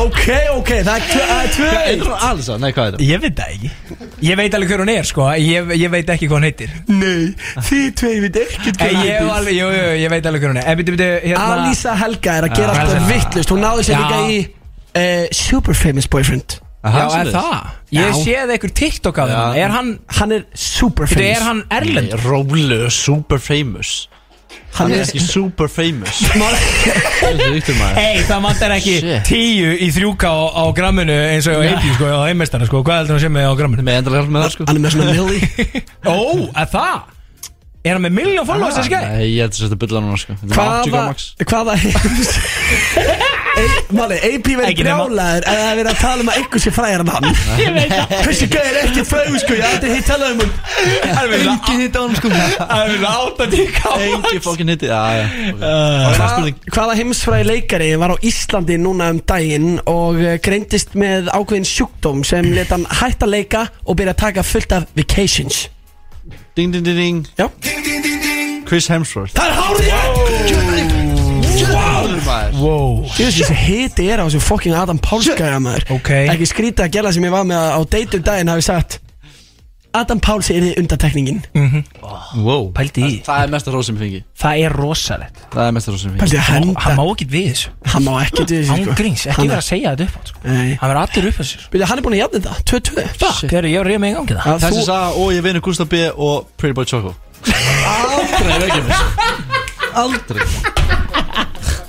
S2: Ok, ok, það er tvö- það er tvö
S6: Er hún Alisa? Nei, hvað er það?
S4: Ég veit það ekki Ég veit alveg hver hún er sko Ég, ég veit ekki hvað hún heitir
S2: Nei, þið tvei veit ekki
S4: Ég, ég, alveg, jú, jú, ég veit alveg hver hún er En byrju, byrju, hérna
S2: Alisa Helga er að
S4: Já,
S2: gera alltaf
S4: Alisa.
S2: vittlust Hún náði sér
S4: Já.
S2: líka í uh, Super Famous Boyfriend
S4: Já, er það? Ég séð eitthvað TikTok af það Er hann
S2: Hann er super
S4: Byrju,
S2: famous
S4: er hann erlend?
S6: Nei, Rólegur, super famous Hann er ekki super famous Það er yktur maður
S4: Ei, það vantar ekki tíu í þrjúka á, á gramminu eins og
S6: Nei.
S4: eipjú sko, á heimestana sko Hvað heldur hann sem með á gramminu?
S6: Með endalega hjálp með það sko
S2: Hann er með svona milli
S4: Ó, er það? Er hann með milljón followers þessi gæ?
S6: Nei, ég heldur sér þetta bylla núna sko Þetta er 80
S2: Hvaða
S6: gram max.
S2: Hvaða Ei- Máli, AP verið
S4: Ekki nema.
S2: brjálaður ef það er verið að tala um að einhver sé fræðar en hann
S4: Ég veit það
S2: Þessi gæði er ekkert fræður sko, ég hef aldrei hitt talað um hann
S4: Það er verið
S12: Engin hitt á honum sko
S4: Það er átt að tíka
S2: Oh
S6: Engi fokkin hitti Já, já ok. Það er
S2: Hva,
S6: spurning
S2: Hvaða heimsfræði leikari var á Íslandi núna um daginn og eh, greindist með ákveðin sjúkdóm sem let hann hætta að leika og byrja að taka fullt af vacations
S6: Ding, ding, ding, ding
S2: Já.
S6: Chris Hemsworth
S2: Það er hárið
S4: Wow
S2: Þú veist þessi hiti er á þessu fucking Adam Pálsgæða maður
S4: Ok
S2: Ekki skrýta að gera sem ég var með að á deitum daginn hafi sagt Adam Páls er þið undatekningin
S6: Mm.
S12: Wow
S4: Pældi í
S6: Það er mesta hrósum fengi
S4: Það er rosalegt
S6: Það er mesta hrósum fengi
S2: Pældi að
S4: Hann
S2: henda
S4: má ekki við þessu
S2: Hann má ekki til þessu sko.
S4: Ángríns, ekki
S2: Hann-
S4: vera að segja þetta upp átt sko.
S2: Nei.
S4: Hann verður allir upp að sér
S2: Byrja, hann er búin að jafna þetta, 2-2
S4: Fuck, þegar ég reyði mig í gangi það
S2: Að
S6: Þessi
S2: þú-
S6: saga og ég vinur Gustaf B. og Pretty Boy Choco Aldrei veikir mér Aldrei Ég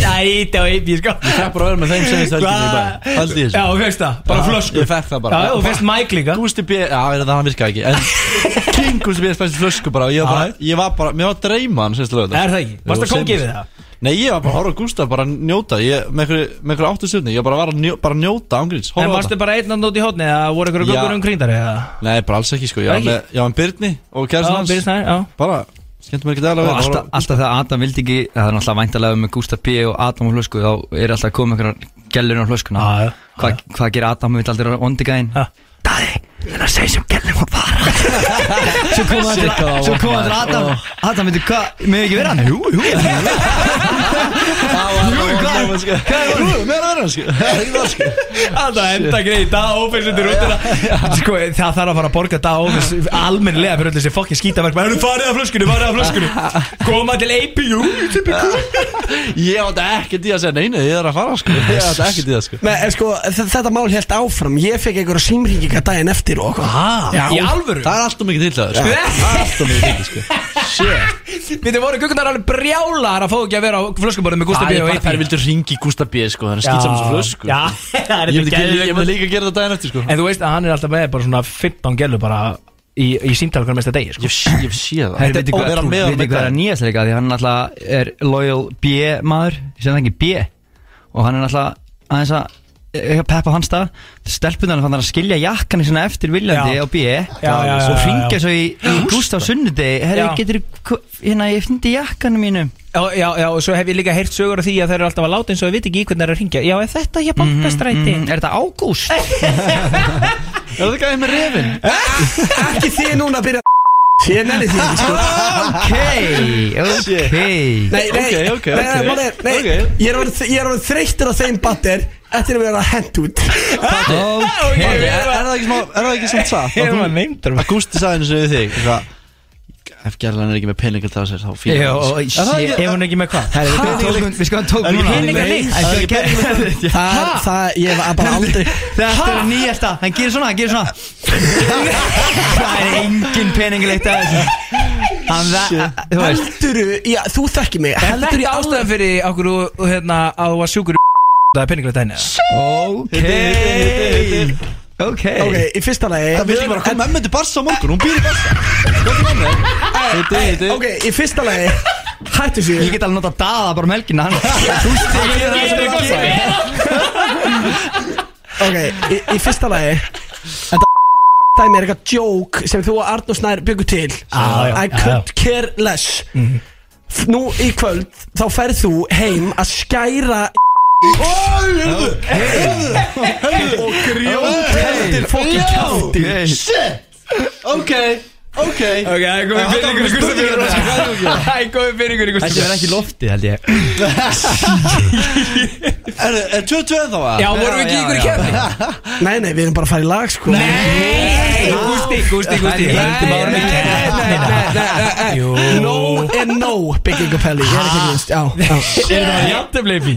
S4: Nei, það var eipi, sko
S6: fekk bara að vera með þeim sem ég stelgjum í dag Haldi ég
S4: Já, þú veist það, bara flösku
S6: Ég fekk það bara
S4: Já, þú veist Mike líka
S6: Gústi B, já ég veit að hann virkaði ekki En King Gústi B er spæst flösku bara og Ég var bara, ég var bara, mér var að dreyma hann sérst lögðu
S4: Er það ekki? Varst það kóngið við það?
S6: Nei, ég var bara að horfa á Gústa bara að njóta ég, Með einhverju- með einhverju áttu sérni, ég var bara að, var að njó, bara að njóta ángríns
S4: En varstu bara einn að nóti í hotni eða voru ykkur að
S6: Já.
S4: gökkur um kríndari eða?
S6: Nei, bara alls ekki sko Ég var
S4: Ekki?
S6: með, ég var með Byrni og
S4: Já,
S6: kæristin hans
S4: byrjast það, já
S6: Bara, skemmtum mér ekki dæla
S12: Og alltaf, alltaf það að Adam vildi ekki Það er náttúrulega væntalega með Gustaf B og Adam og hlösku Þá er alltaf að koma einhverjar gellur á hlöskuna
S4: Já, já.
S12: Hvað hva gerir Adam, hann vil aldrei vondiga einn
S4: Já.
S12: Daði, ég er að segja sem gellum að fara Svo
S6: Shit,
S12: koma
S6: hvað
S12: þetta
S6: það
S12: Svo
S6: vont
S12: koma
S6: maður.
S12: þetta Adam Adam, veitu hvað, með ekki vera hann Jú, jú,
S6: sko.
S4: sko. Alltaf enda greið, dag ófins undir rútuna Sko, það þarf að fara að borga dag ófins Almennilega fyrir öll þessi fokkin skítaverk Það eru farið af flöskunni, farið af flöskunni Koma til APU
S6: Ég átti ekki því að segja neini, ég er að fara sko Ég átti ekki því að sko
S2: Men, eh, sko, þ- þetta mál helt áfram Ég fekk einhverja símringinga daginn eftir og okkur
S4: Hæ? Í alvöru?
S6: Það er alltaf mikið til það sko Það er alltaf mikið til sko Shit
S4: Við þið voru gökkunar alveg brjálar að fá ekki að vera á flöskuborðum með Gústa
S6: Það
S4: B
S6: er
S4: og
S6: bara þær
S4: APU
S6: vildu ringi Gústa B sko Þannig skýt saman svo flösku sko.
S4: Já, það er
S6: Ég myndi
S4: þetta
S6: gera- ég
S4: gæðið
S6: myndi líka gera þetta daginn eftir sko
S4: En þú veist að hann er alltaf með bara svona 15 gælu bara í, í símtala hvernig mesta degi sko.
S6: Ég sé- ég sé það
S12: Þetta er
S6: Og vera með honum
S12: Við veitum
S6: einn
S12: hvað er að
S6: daginn.
S12: nýjast líka Því hann alltaf er loyal B maður Ég sem það ekki B Og hann er alltaf aðeins að eh, peppa á hans stað stelpunar fann hann að skilja jakkan svona eftir viljandi
S4: Já.
S12: á B
S4: já, já, já,
S12: og
S4: já,
S12: hringja
S4: já.
S12: svo í, í Gustaf sunnudegi herri,
S4: Já.
S12: getur hérna, ég fyndi jakkanum mínum
S4: Já, já, já, og svo hef ég líka heyrt sögur af því að þeir eru alltaf að láta eins og við viti ekki í hvernig þeir eru að ringja Já, er þetta hér bankastræti?
S12: Mm, er þetta ágúst?
S6: Er það gæði með refin?
S2: Ekki þið núna að byrja að Ég nenni því ekki sko
S12: ok, ok
S2: Nei, nei,
S6: Ok, ok,
S2: nei,
S6: ok.
S2: nei, nei, nei
S6: Ok.
S2: Ég er orðinn- ég er orðin þreyttur á þeim batter Eftir að vera hent út
S12: ok
S6: Er er það ekki smá, er það ekki samt satt?
S4: Ég var neymdur
S6: Að Gústi sagði eins og við þig eitthvað, Ef gerðan er ekki með peningar það sér þá fílar
S12: Jó,
S6: hann sig.
S12: shit.
S4: Ef hún er ekki með hvað?
S12: Herri, við tókum- við skoðum tókum núna
S4: peningalykt?
S12: Það er peningalykt
S2: Það, það, ég var bara aldrei
S12: Þetta er nýjasta, hann gerir svona, hann gerir svona Það er engin peninglikt að þessu Hann það, þú veist
S2: Helduru, já, þú þekkir mig
S4: Er
S2: Heldur
S4: þetta
S2: ég ástæðan
S4: ástæðan fyrir okkur og, hérna, að þú var sjúkur í Það er peninglegt henni
S12: Ok Ok
S2: Ok, í fyrsta lagi
S6: Það vil ekki bara koma emmi til Barsa á morgun Hún býr í Barsa Heiti, heiti
S2: Ok, í fyrsta lagi Hættu sér
S12: Ég get alveg nota daða bara um helgina hann Þú stegir það sem er gott
S2: Ok, í, í fyrsta lagi Þetta dæmi er eitthvað joke sem þú og Arnur Snær byggur til
S4: já,
S2: I
S4: já,
S2: could care less F- Nú í kvöld þá ferð þú heim að skæra Hörðu, hörðu, hörðu Og grjót heldur fokkin kjátti Shit Ok, ok
S4: Ok, það er komið fyrir ykkur í Gustaf Björn Það er komið fyrir ykkur í Gustaf
S12: Þessi var ekki loftið held ég
S6: Er er 2-2 þá að?
S4: Já, vorum við ekki í ykkur í kefni?
S2: Nei, nei, við erum bara að fara í lag sko
S4: Nei, Gústi, Gústi, Gústi
S2: Nei, nei, nei, nei, nei, nei
S4: Jú.
S2: No and no, Big Ingo Pelli Ég er ekki minnst, já já.
S4: Erum það jafntefleipi?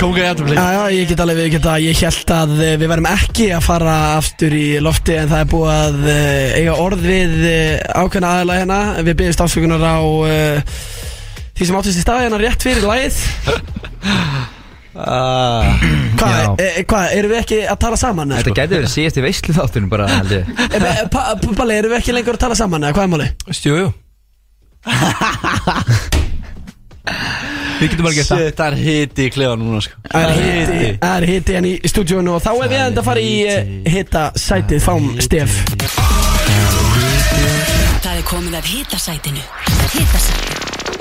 S6: Konga jafntefleipi
S2: Já, já, ég get alveg verið geta Ég held að eh, við verðum ekki að fara aftur í lofti En það er búið að eh, eiga orð við eh, ákveðna aðila hérna Við byggjumst afsökunar á eh, því sem áttist í stað hérna rétt fyrir lagið Ah,
S12: já.
S2: Hvað, eh, hvað, erum við ekki að tala saman? eða,
S12: Þetta
S2: sko?
S12: gæti verið síðast í veislu þáttunum bara held ég
S2: Eh, eh, pa- pa- Palli, erum við ekki lengur að tala saman? Eða hvað er máli?
S4: Jú, jú Við getum bara gert það
S6: Þetta er hiti í klefa núna sko
S2: Það er hiti Það er hiti hérna í stúdíónu Og þá er við enda að fara í eh, hita sætið Fám Stef
S7: Það er komið af hitasætinu Hitasætinu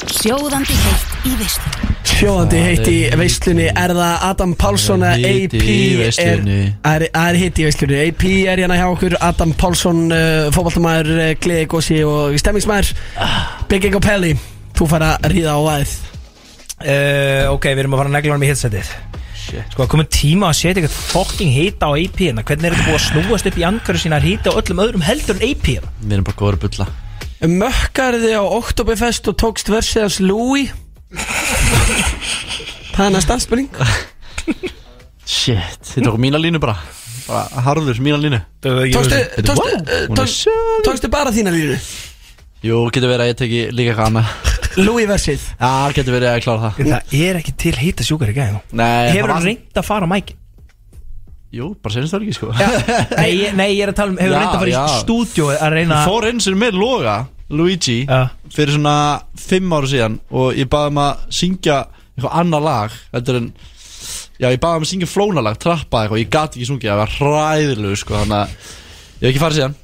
S7: Sjóðandi heitt í veislu
S2: Sjóðandi heitt í veislunni Er það Adam Pálsson eða
S6: Hiti
S2: AP
S6: í
S2: er-
S6: veislunni.
S2: er- Það er hitt í veislunni AP er hérna hjá okkur Adam Pálsson, uh, fótballtamæður uh, Gleði gósi og stemmingsmæður Big Ego Pelli Þú fara að ríða á væð
S4: Eh, Ok, við erum að fara að negla honum í hitsætið Sko, það komið tíma að setja eitthvað fucking hita á AP hérna Hvernig er þetta búið að snúast upp í angari sína að hita á öllum öðrum heldur en AP hérna?
S6: Við erum bara góður að bulla
S2: Um Mökkarði á Oktoberfest og tókst versið hans Louis Það er næsta spurning
S6: Shit, þið tókum mína línu bara Bara harður, mína línu
S2: Tókstu,
S6: Þetta er-
S2: tókstu,
S6: wow,
S2: eh,
S6: hún er
S2: tókstu, tókstu bara þína línu
S6: Jú, getur verið að ég teki líka eitthvað annað
S2: Louis versið
S6: Já, getur verið að klára það
S4: Það er ekki til hita sjúkar í gæðinu
S6: Nei,
S4: Hefur
S6: það
S4: hann
S6: var-
S4: reynd að fara á mækin?
S6: Jú, bara senast það ekki sko
S4: Nei, ég- nei, ég er að tala um, hefur
S6: Já,
S4: reynd að fara
S6: já.
S4: í stúdíó að reyna
S6: Ég fór eins og með Loga, Luigi Fyrir svona fimm ára síðan Og ég baði um að syngja eitthvað annað lag Þetta er en Já, ég baði um að syngja flónalag, trappa eitthvað Ég gat ekki sungið, það var hræðilegu sko Þannig að ég hef ekki farið síðan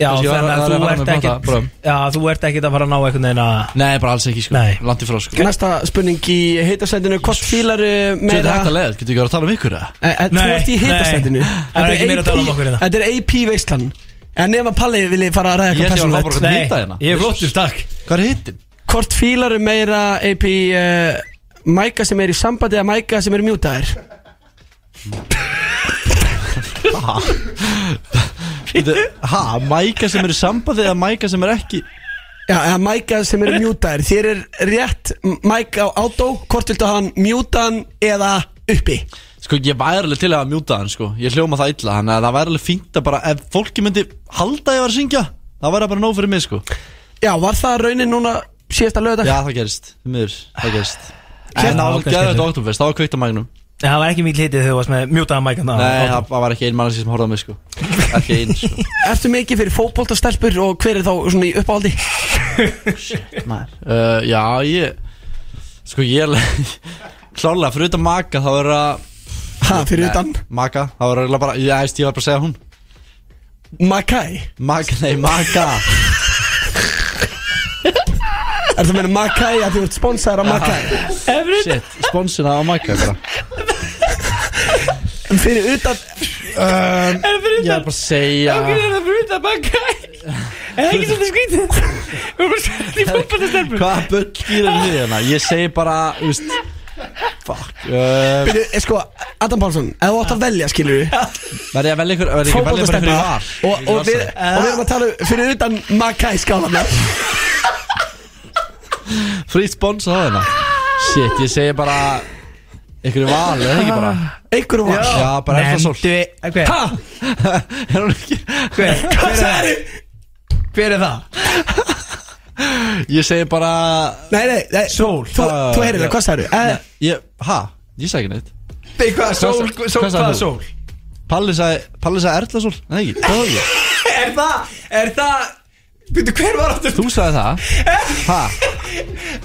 S4: Já,
S6: Kannski var-
S4: þannig
S6: það er
S4: að þú
S6: fara
S4: ert
S6: með plata,
S4: ekkert
S6: bara.
S4: Já, þú ert ekkert að fara að ná einhvern veginn að
S6: Nei, bara alls ekki sko
S4: Nei.
S6: Landi frá sko
S2: Næsta spurning í hitasætinu Hvort fílar uh,
S6: Þetta er hægt að
S2: meira
S6: leið, getur ekki verið að tala um ykkur eða?
S2: Eh, eh, Þú
S4: Nei,
S2: ert í hitasætinu
S4: nei. Það er ekki meira að tala um okkur hérna.
S2: Þetta er AP veistlan En nefn að Palli vilji fara að ræða eitthvað
S6: Ég ætti að fara bara
S2: persónulegt
S6: að hýta hérna
S4: Ég er flottur, takk
S6: Hvað er hittin?
S2: Hvort fílar meira AP uh, Mæka sem er í sambandi eða mæka sem er mjútaðir
S6: Ha, mæka sem er í sambandi eða mæka sem er ekki
S2: Já, eða mæka sem eru mjútaðir Þér er rétt mæk á átó Hvort viltu hafa hann mjútaðan eða uppi
S6: Sko, ég væri alveg til að mjúta hann, sko Ég hljóma það illa, þannig að það væri alveg fínt að bara Ef fólki myndi halda að ég var að syngja Það væri bara nóg fyrir mig, sko
S2: Já, var það raunin núna síðasta lögdag?
S6: Já, það gerist, því miður, það gerist
S4: Já,
S6: En það var
S4: ok,
S6: gæðið
S4: skemmtilegt.
S6: þetta oktoberfest, það var kveikt á magnum Nei,
S4: Nei, Það var ekki mikil hitið þegar þú varst með mjútaða mækan
S6: það það var ekki ein mannski sem horfði á mig, sko Ekki ein, sko
S2: Ertu mikið fyrir fótboltastelpur og hver er þá svona í uppáhaldi?
S6: uh, Já, ég Sko, ég er alveg- Klálega, fyrir utan maka, þá er að
S2: Ha, fyrir utan?
S6: Maka, þá er eiginlega bara Ég æst, ég var bara að segja hún
S2: Makai?
S6: Maka, nei, maka
S2: Er það meina Makai að þú ert sponsor af Makai?
S6: Shit, sponsina á maka bara
S2: En fyrir utan,
S6: Ég er bara að segja
S4: er það fyrir það mæka? Er það ekki svolítið skrítið? Við erum bara svolítið í fólkbættastelpum
S6: Hvaða bull gýrar við hérna? Ég segi bara, þú veist Fuck uh,
S2: byrju, eh, sko, Adam Pálsson Ef þú átt að velja, skilur við
S6: Verði ég að velja ykkur, verði ég ekki að velja bara fyrir
S2: Fótboltastelpa
S6: var
S2: og, og, við- og við erum að tala um fyrir utan Makai skálanar
S6: Frí spons á þeirna Shit, ég segi bara Ykkur í val, eða ekki bara
S2: Einhverjum var
S6: Já, bara er það sól
S4: Nendu Hver?
S2: Ha?
S6: Er hún ekki
S4: Hver? Hver er það? Hver er það?
S6: Ég segi bara
S2: Nei, nei, nei
S4: Sól.
S2: Þú, þú heyrir það, hvað sagður? Eh,
S6: ég, Ha? Ég segi ekki neitt
S4: Nei, hvað? Sól,
S6: Hvað-
S4: sól,
S6: hvað sagði
S4: hvað
S6: þú?
S4: sól?
S6: Palli sagði, Palli sagði Erlasól Nei, ekki, hvað var ég?
S4: Er það? Er það? Býttu, hver var áttur?
S6: Þú sagði það Ha?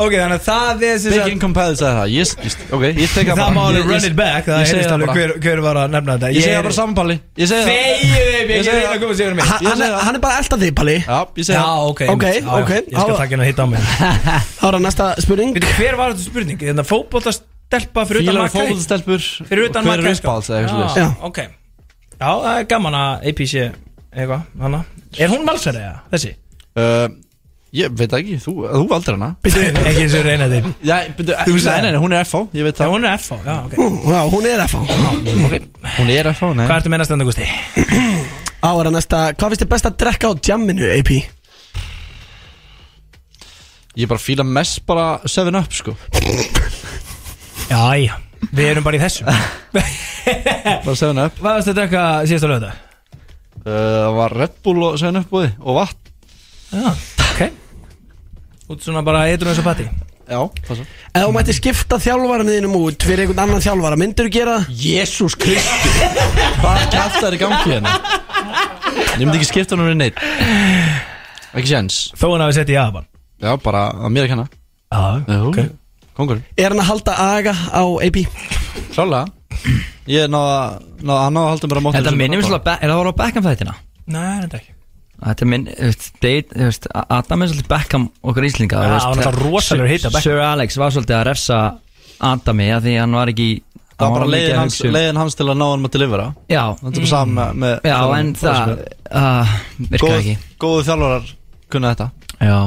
S4: Ok, þannig að það er sem
S6: Big Income Pally sagði það Ég, ég, ok, ég teka bara
S4: Það má alveg
S6: Ég- ég-
S4: run it back
S6: Ég
S4: Það
S6: segi
S4: heyrðist
S6: það
S4: alveg
S6: bara
S4: hver, hver var að nefna þetta
S6: Ég segi það bara samanpalli Ég segi það
S4: Þegið þeim,
S6: Ég
S4: ég er
S6: segi
S4: einn
S6: það.
S4: að koma sér um mig
S2: ha- Hann er- hann er bara elda þig, Palli
S6: Já, ég segi
S4: Já,
S6: það
S2: Ok,
S4: ok einmitt. Já, já,
S2: ok.
S4: Ég skal
S2: Þá-
S4: taka henni að hitta á mig
S2: Þá er það næsta spurning
S4: Býttu, hver var þetta spurning? Þannig að fótbóttast stelpa Hérna, fyrir utan
S6: Fílar og
S4: makka þinn?
S6: fótboltastelpur
S4: Fyrir utan
S6: og hver
S4: makka
S6: er
S4: þinn,
S6: uppáhalds eða eitthvað
S4: Já,
S6: svoleiðis.
S4: ok Já, það er gaman að AP sé eitthvað hana. Er hún valsari eða þessi?
S6: Uh, ég veit það ekki, þú, þú valdir hana
S4: Býttu, ekki eins og reyna þig
S6: Já, býttu,
S4: Þú
S6: þú
S4: sagði-
S6: sagði Nei, nei, hún er FH, ég veit það
S4: Hún er FH, já, ok
S2: Já, hún er FH
S6: Hún er FH, nei
S4: Hvað ertu með næsta andagusti?
S2: Á er að næsta Hvað finnst þið best að drekka á jamminu, AP?
S6: Ég bara fíla mest bara 7up, sko
S4: Já, já, við erum bara í þessu
S6: Bara 7up
S4: Hvað varst að drekka síðasta lögða?
S6: Uh, það var Red Bull og 7up búið og vatn
S4: Já, ok Út svona bara eitthvað eins og patti
S6: Já, passa
S2: Ef þú mætti skipta þjálfvaran þínum út fyrir einhvern annan þjálfvara, myndirðu gera það?
S6: Jésús Kristi Hvað kæft er í gangi hérna? Ég myndi ekki skipta hún um neitt Ekki séns
S4: Þó hann hafi sett í aðabann
S6: Já, bara að mér að kenna
S4: Já,
S6: ok Kongur
S2: Er hann að halda aga á AP?
S6: Klálega Ég náða, náða, hann náða að halda mér að móta
S12: Þetta minnir mér svolítið, er það voru á Beckham-fættina?
S4: Nei, þetta ekki
S12: Þetta minn, þú veist, Dave- þú veist, Adam er svolítið Beckham okkur íslinga
S4: Já, hann var náttúrulega rosalegur hitt á Beckham.
S12: Sir Alex var svolítið að refsa Adami að því hann var ekki
S6: Það var bara
S12: mikið
S6: leiðin
S12: að
S6: hans,
S12: hugsa um-
S6: leiðin hans til að ná hann að delivera
S12: Já
S6: Þetta er bara saman með, með
S12: Já,
S6: þjálfarann.
S12: en það
S6: er svo.
S12: uh, virkaði
S6: Góð,
S12: ekki
S6: Góðu þjálfarar kunna þetta
S12: Já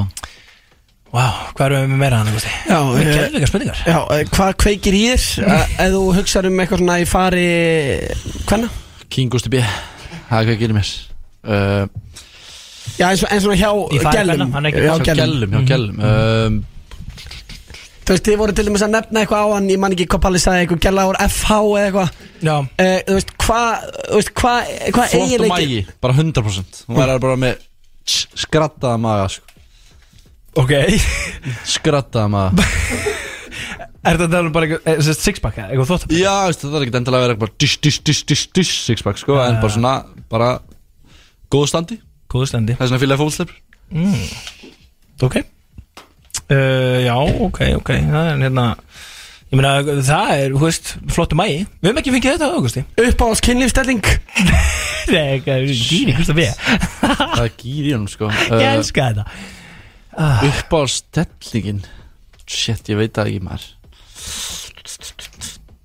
S4: Vá, hvað erum við með meira hann andagusti?
S2: Já,
S4: Við
S2: eh,
S4: gerðum eitthvað spurningar
S2: Já, eh, hvað kveikir í þér eh, ef þú hugsar um eitthvað svona í fari hvenna?
S6: King Gusti B Það er hvað gerir mér uh,
S2: Já, eins og, eins og hjá
S4: Í fari
S2: gælum
S4: kvenna, hann er
S2: Já,
S4: ekki-
S6: Hjá gælum, hjá
S2: gælum
S6: gælum um,
S2: Þú veist, þið voru til dæmis að nefna eitthvað á hann Ég man ekki hvað Palli sagði, eitthvað gæla úr FH eða eitthvað
S4: Já,
S2: Eh, Þú veist, hvað Þú veist, hvað Hvað
S6: Flott og
S2: eiginleiki
S6: mægi, bara 100% Hún verður bara með tss, skrattaða maga sko.
S4: ok
S6: Skrattaða maga
S4: Er þetta tala um bara eitthvað, eh, sem sagt sixpack eða eitthvað þótt?
S6: Já, veistu, það er ekkert endilega að vera bara Dish, dish, dish, dish, dish, sixpack sko, En bara svona, bara Góðu standi,
S4: Góðu slendi
S6: það er svona fílaði fólksleipur
S4: mm. Ok uh, Já, ok, ok Það er hérna Ég meina, það er, hú veist, flottu mægi Við höfum ekki fengið þetta, Augusti
S2: Uppáhalds kynlífstelling
S4: Nei, eitthvað, gýri, hvort að við
S6: Það er gýr í honum sko
S4: Ég
S6: Eh,
S4: elska þetta
S6: uppáhaldstellingin shit, ég veit það ekki maður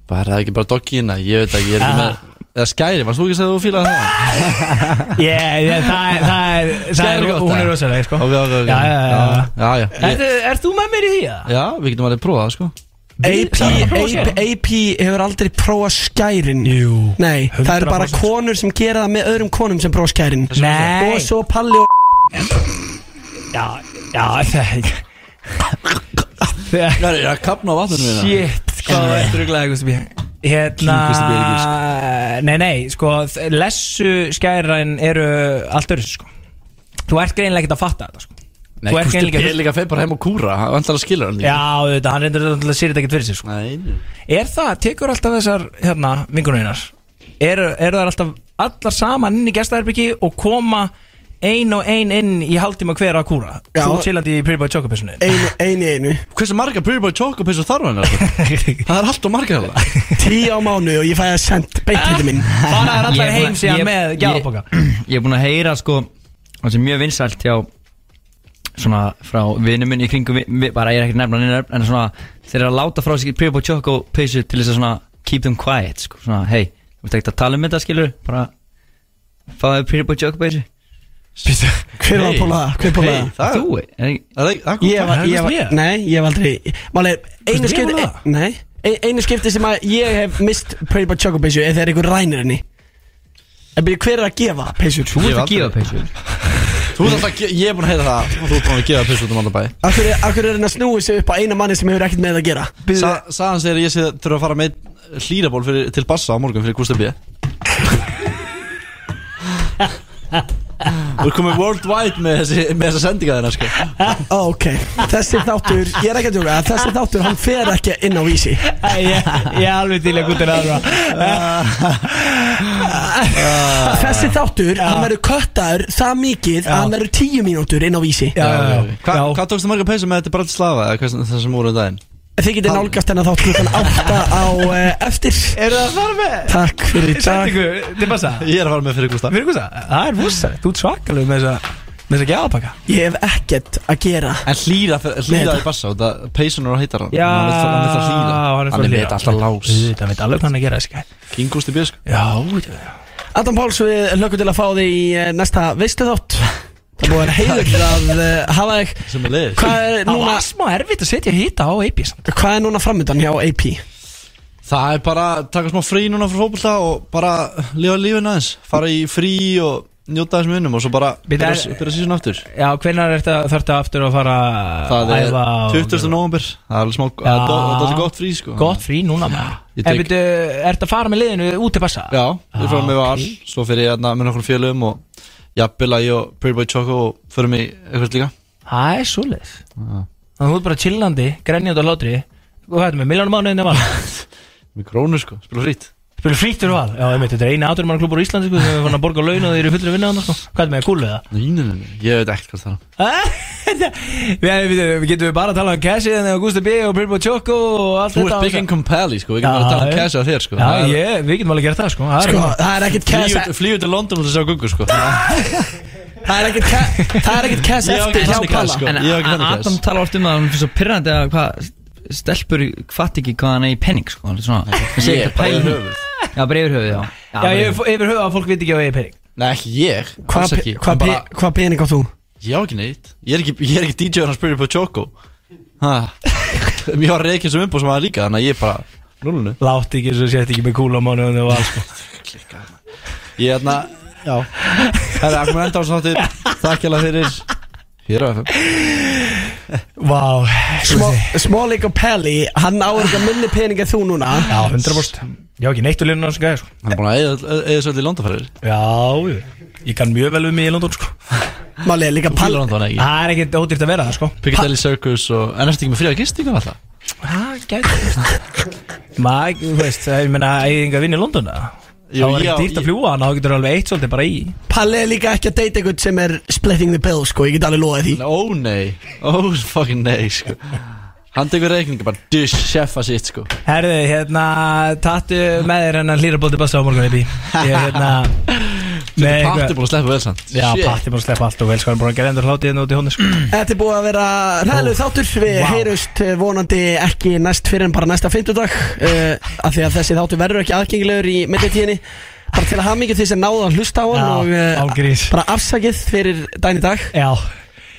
S6: bara er það ekki bara doggina ég veit það ekki, ég er ekki með eða skæri, varst þú ekki að segja þú fílaði það?
S4: yeah, yeah, Það er, það er, það er,
S6: Skæri gott,
S4: hún
S6: það.
S4: er rosalega, sko
S6: ok, ok, ok
S4: Já, já, já, já.
S6: já, já,
S4: Er,
S6: ég,
S4: er þú með mér í því, eða?
S6: já við getum alveg að prófa það sko
S2: AP,
S4: Það er að prófa
S2: AP, AP hefur aldrei prófa skærin
S4: Jú
S2: Nei, það eru bara
S4: 100%.
S2: konur sem gera það með öðrum konum sem prófa skærin
S4: Nei.
S2: Og svo Palli og
S4: Já, já, það Það
S6: já, ég er að kapna á vatnunum minna
S4: Shit, hvað er druglega Gusti B Hérna
S6: Gusti B er ekki,
S4: Nei, nei, sko þ- Lessu skæræn eru allt öðru sko. Þú ert greinlega ekkert að fatta þetta sko.
S6: Nei,
S4: Þú ert
S6: Gústi
S4: greinlega
S6: P. er líka að feið bara heim og kúra hann vantar að skilja hann
S4: Já, þetta, hann reyndur að sér þetta ekkert fyrir sig sko.
S6: Nei, nei.
S4: Er það, tekur alltaf þessar hérna, vingunarinar Eru er það alltaf allar saman inn í gestaherbyggi og koma ein og ein inn í hálftíma hver að kúra
S2: Já.
S4: Þú chillandi í Pretty Boy Choco personin
S2: einu, einu, einu
S6: hversu marga Pretty Boy Choco pissu þarf hann sko? það er allt og marga hérna
S2: Tí á mánu og ég fæ að senda beintið minn
S4: Bara er
S12: Ég er
S4: allar
S12: búin
S4: heim
S12: að-
S4: síðan
S12: ég-
S4: með
S12: ég-
S4: gjafaboka
S12: Ég er búin að heyra sko Það sem er mjög vinsælt hjá Svona frá vinum minn í kringum vi- vi- Bara ég er ekkert nefna hann nefn En svona þeir eru að láta frá sig Pyrbo Choco peysu til þess að svona Keep them quiet sko Svona hei Þú ert ekkert að tala um þetta skilur Bara Fáðu Pyrbo Choco peysu
S2: Hver var að púla það? Hver púla það?
S6: það
S12: Þú er ekki
S6: það er ekki- það kom
S2: Ég var,
S4: Það
S2: ég
S4: hefðist mér.
S2: var, nei, ég hef aldrei Máli, einu
S4: Finnst mér
S2: skipti
S4: um það?
S2: Nei, ein- einu skipti sem að ég hef mist Pretty Boy Choco peysu er þegar einhver rænir henni En byrju, hver er að gefa peysur?
S12: Þú ert
S6: hef
S12: að gefa
S6: aldrei-
S12: peysu sko.
S6: Þú ert alltaf að ge- ég er búin að heyra það Þú ert búin að gefa pissu út um alltaf bæ
S2: Akkur er, akkur er hann að snúi sig upp á eina manni sem hefur ekkert með það að gera
S6: Sa, Sagan segir að ég sé þurfa að fara með einn hlýraból fyrir, til Bassa á morgun fyrir Gústa B Þú er komið worldwide með, þessi, með þessa sendinga þeirna sko.
S2: Ó, Ok, þessi þáttur, ég er ekki að tjóka Þessi þáttur, hann fer ekki inn á vísi
S4: Æ, Ég ég er alveg til að gúta aðra Ah.
S2: Þessi þáttur, hann verður köttaður það mikið að hann verður tíu mínútur inn á vísi
S4: Já, já,
S6: Hva,
S4: já
S6: Hvað tókstu marga peysu með þetta bara til slafa eða hvað sem- það sem voru um daginn?
S2: Þið
S4: Ah.
S2: getið nálgast hennar þátt klukkan átta á eh, eftir
S4: Er það að fara með?
S2: Takk fyrir í dag
S4: Sendingu, til passa
S6: Ég er að fara með fyrir Gústa
S4: Fyrir hvað það? Það er vossar, þú ert svakalegu með þessa Með þess að gjafapakka?
S2: Ég hef ekkert að gera
S6: En hlýra, hlýra í bassa Það peysunur heitar hann
S4: Já,
S6: Hann vill- hann vill að hlýra
S4: hann er fyrir
S6: Hann veit alltaf lás
S4: Það veit alveg hvað hann er að gera þessi gæð
S6: Kingústi bjösk
S4: Já, veitum við
S2: Adam Páls, við hlökkum til að fá þig í eh, næsta veistu þátt Það búið að vera heiður að eh, hafa þig
S6: Sem er leiðis
S2: Hvað er
S4: Það
S2: núna
S4: var smá erfitt að setja hýta á AP samt
S2: Hvað er núna framöndan hjá AP?
S6: Það er bara að taka smá frí núna frá fótbolta og bara lifa lífinu aðeins fara í frí og njóta þessum vinnum og svo bara
S4: Bíddu,
S6: byrja
S4: er-
S6: byrja sísun aftur
S4: Já, hvenær þarf þetta aftur að fara
S6: Það er
S4: æfa og-
S6: 20. november Það er alveg smá, það er gott- það er gott frí sko
S4: Gott frí núna maður
S6: Ég
S4: En
S6: tek-
S4: veitu, ert að fara með liðinu út til bassa?
S6: Já, við fórum með
S4: Ah,
S6: val, svo fyrir ég hérna með nokkur félögum og jafnvel að ég og Pretty Boy Choco og förum í eitthvað líka
S4: Það er svoleiðis Þannig að þú ert bara chillandi, grænjandi á hlátri Hvað hættum við, miljónum mánuðinni val?
S6: Með krónu sko, spila frýtt
S4: Spilur frítt fyrir val? Já, ég veit, þetta er eini áturumann klubur í Íslandi sko, sem er fann að borga laun og þeir eru fullir að vinna þannig sko. Hvað er með kúlu það?
S6: Nei, nei, nei, nei, ég veit ekkert hvað það er
S4: við, við, við getum við bara að tala um Cassie en Augusta B og Bilbo Choco og allt
S6: Þú
S4: þetta
S6: ert
S4: og
S6: big
S4: þetta.
S6: income pally sko, við getum bara að tala um
S4: Já,
S6: cash á þér sko
S4: Já, ég, við getum alveg að gera það sko
S2: Sko, það er ekkert cash
S6: Flýðu til London og þess að gungu sko
S2: Það er ekkert ca- það er ekkert cash
S6: Ég á ekki
S2: eftir hjá
S6: þannig cash,
S2: Palla
S6: sko.
S12: En
S6: Ég hef ekki
S12: A-
S6: þannig
S12: Adam
S6: cash.
S12: talar oft um það að hann finnst svo pirrandi að hvað stelpur fatt ekki hvað hann er í penning sko, hann er svona, hann segir
S6: ég,
S12: ekki að
S6: bara
S12: pæla í
S6: yfir
S12: því. Já, bara yfir höfuð, já
S4: Já, ég hef yfir höfuð að fólk veit ekki á eigi pening
S6: Nei, ekki ég,
S2: Hvað
S6: alls ekki
S2: pe- hvað
S6: En bara-
S2: pe- Hvað pening á þú?
S6: Ég á ekki neitt Ég er ekki, ég er ekki DJ hann að spyrja på Choco Ha Ég var reikin sem umbúð sem aða líka Þannig að ég er bara Núlunu
S4: Látt ekki svo sett ekki með kúlu á mánuðinni og allt sko
S6: Ég er þarna Já Það er akkur enda á svo þáttir Takk hjá fyrir Hér á FM
S4: Vá,
S2: Smá- Smalling og Pelli, hann áur ekki að minni pening en þú núna
S4: já, 100% Ég á ekki neitt úr liðinu hans gæði sko
S6: Hann er búin að eyða- eyða svo allir landafærir
S4: Já, ég, ég kann mjög vel við mig í London sko
S2: Málið er líka
S6: Pílar
S2: Palla
S6: hann þannig ekki
S4: Það er ekkert ódýrt að vera það sko
S6: Piccadilly Circus og En eftir ekki með frí að gistingu alltaf
S4: Það gæti Maður, þú veist, ég meina, eigið enga vinn í London eða?
S6: Jú,
S4: Það var
S6: já,
S4: ekki dýrt
S6: ég-
S4: að fljúa hann, þá getur alveg eitt svolítið bara í
S2: Palli er líka ekki að deyta einhvern sem er splitting the bill sko, ég get alveg loðið því
S6: Ó nei Ó fucking nei sko Hann tekur reikninga bara Dush, chefa sitt sko
S4: Herðu, hérna, tattu með þér hennan hlýra bóti bassa á morgun upp í Ég er hérna
S6: Þetta
S4: með
S6: er
S4: eitthvað-
S6: patti búin að sleppa vel sann
S4: Já, patti búin að sleppa allt og vel, sko, hann er búin að gera endur hlátið hérna út í hónu, sko
S2: Þetta er búið að vera ræðilegu þáttur Við
S4: Vá.
S2: heyrust eh, vonandi ekki næst fyrir en bara næsta fimmtudag uh, af því að þessi þáttur verður ekki aðgengilegur í mittlutíðinni bara til að hafa mikið til þess að náða að hlusta á hann
S4: Já,
S2: og eh,
S4: ángríns
S2: bara afsakið fyrir dæn í dag
S4: Já,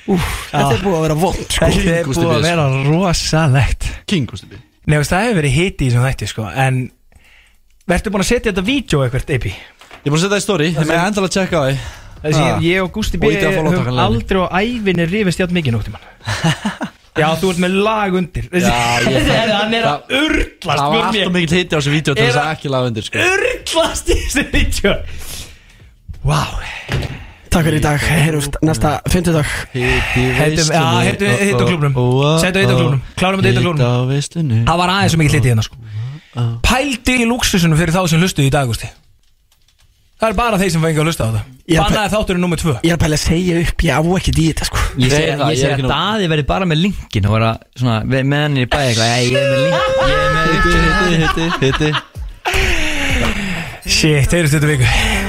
S2: Þetta er búið að vera vond sko.
S4: þetta er
S6: Gústi
S4: búið að
S6: Björns.
S4: vera rosalegt
S6: King Gusti B
S4: Nei, veist, það hefur verið hiti í þessum þætti, sko, en Vertu búin að setja þetta vídeo eitthvað, Epi?
S6: Ég er búin að setja það í story Þið með endalega að checka á því
S4: Þessi,
S6: Ah.
S4: ég og Gústi B
S6: Og ýti á follow
S4: höfum
S6: takkanlega.
S4: aldrei á ævinni rifist hjátt mikið nóttum hann Já, þú ert með lag undir Þessi,
S6: Já, ég-
S4: Þessi- hann er að urla
S6: Það var
S4: spurning.
S6: alltaf mikill hitti á þessu vídeo til
S4: Er
S6: þess að
S4: það-
S6: ekki laga undir sko
S4: Urlast í þessu vídeo Vá
S2: Takk fyrir í dag, heyrust næsta fimmtudag
S6: Hitti
S4: Heitum- já, heitum-
S6: Oh,
S4: hitt á klúbbnum. Settu hitt á klúbbnum. Klárum þetta hitt á klúbbnum.
S6: Hitt á veislunum
S4: Það var aðeins sem ekki litið hérna sko
S6: Ah.
S4: Pældi í lúksusunum fyrir þá sem hlustuði í dag Gústi Það er bara þeir sem fengi að hlusta á
S2: Ég
S4: þetta
S2: er að
S4: Bannaði þátturinn nummer tvö
S2: Ég er að pæla að segja upp, ég á ekkert í þetta sko
S12: Ég
S6: Ég
S12: segi
S6: er það, ég er
S12: ég segi
S6: ekki
S12: að
S6: nú-
S12: daði verði bara með linkin og vera svona ve- með hann í bæði eitthvað, "Æ, ég er með linkin, ég er með
S6: Hitti, hitti, hitti, hitti
S4: Shit, heyrðu þetta viku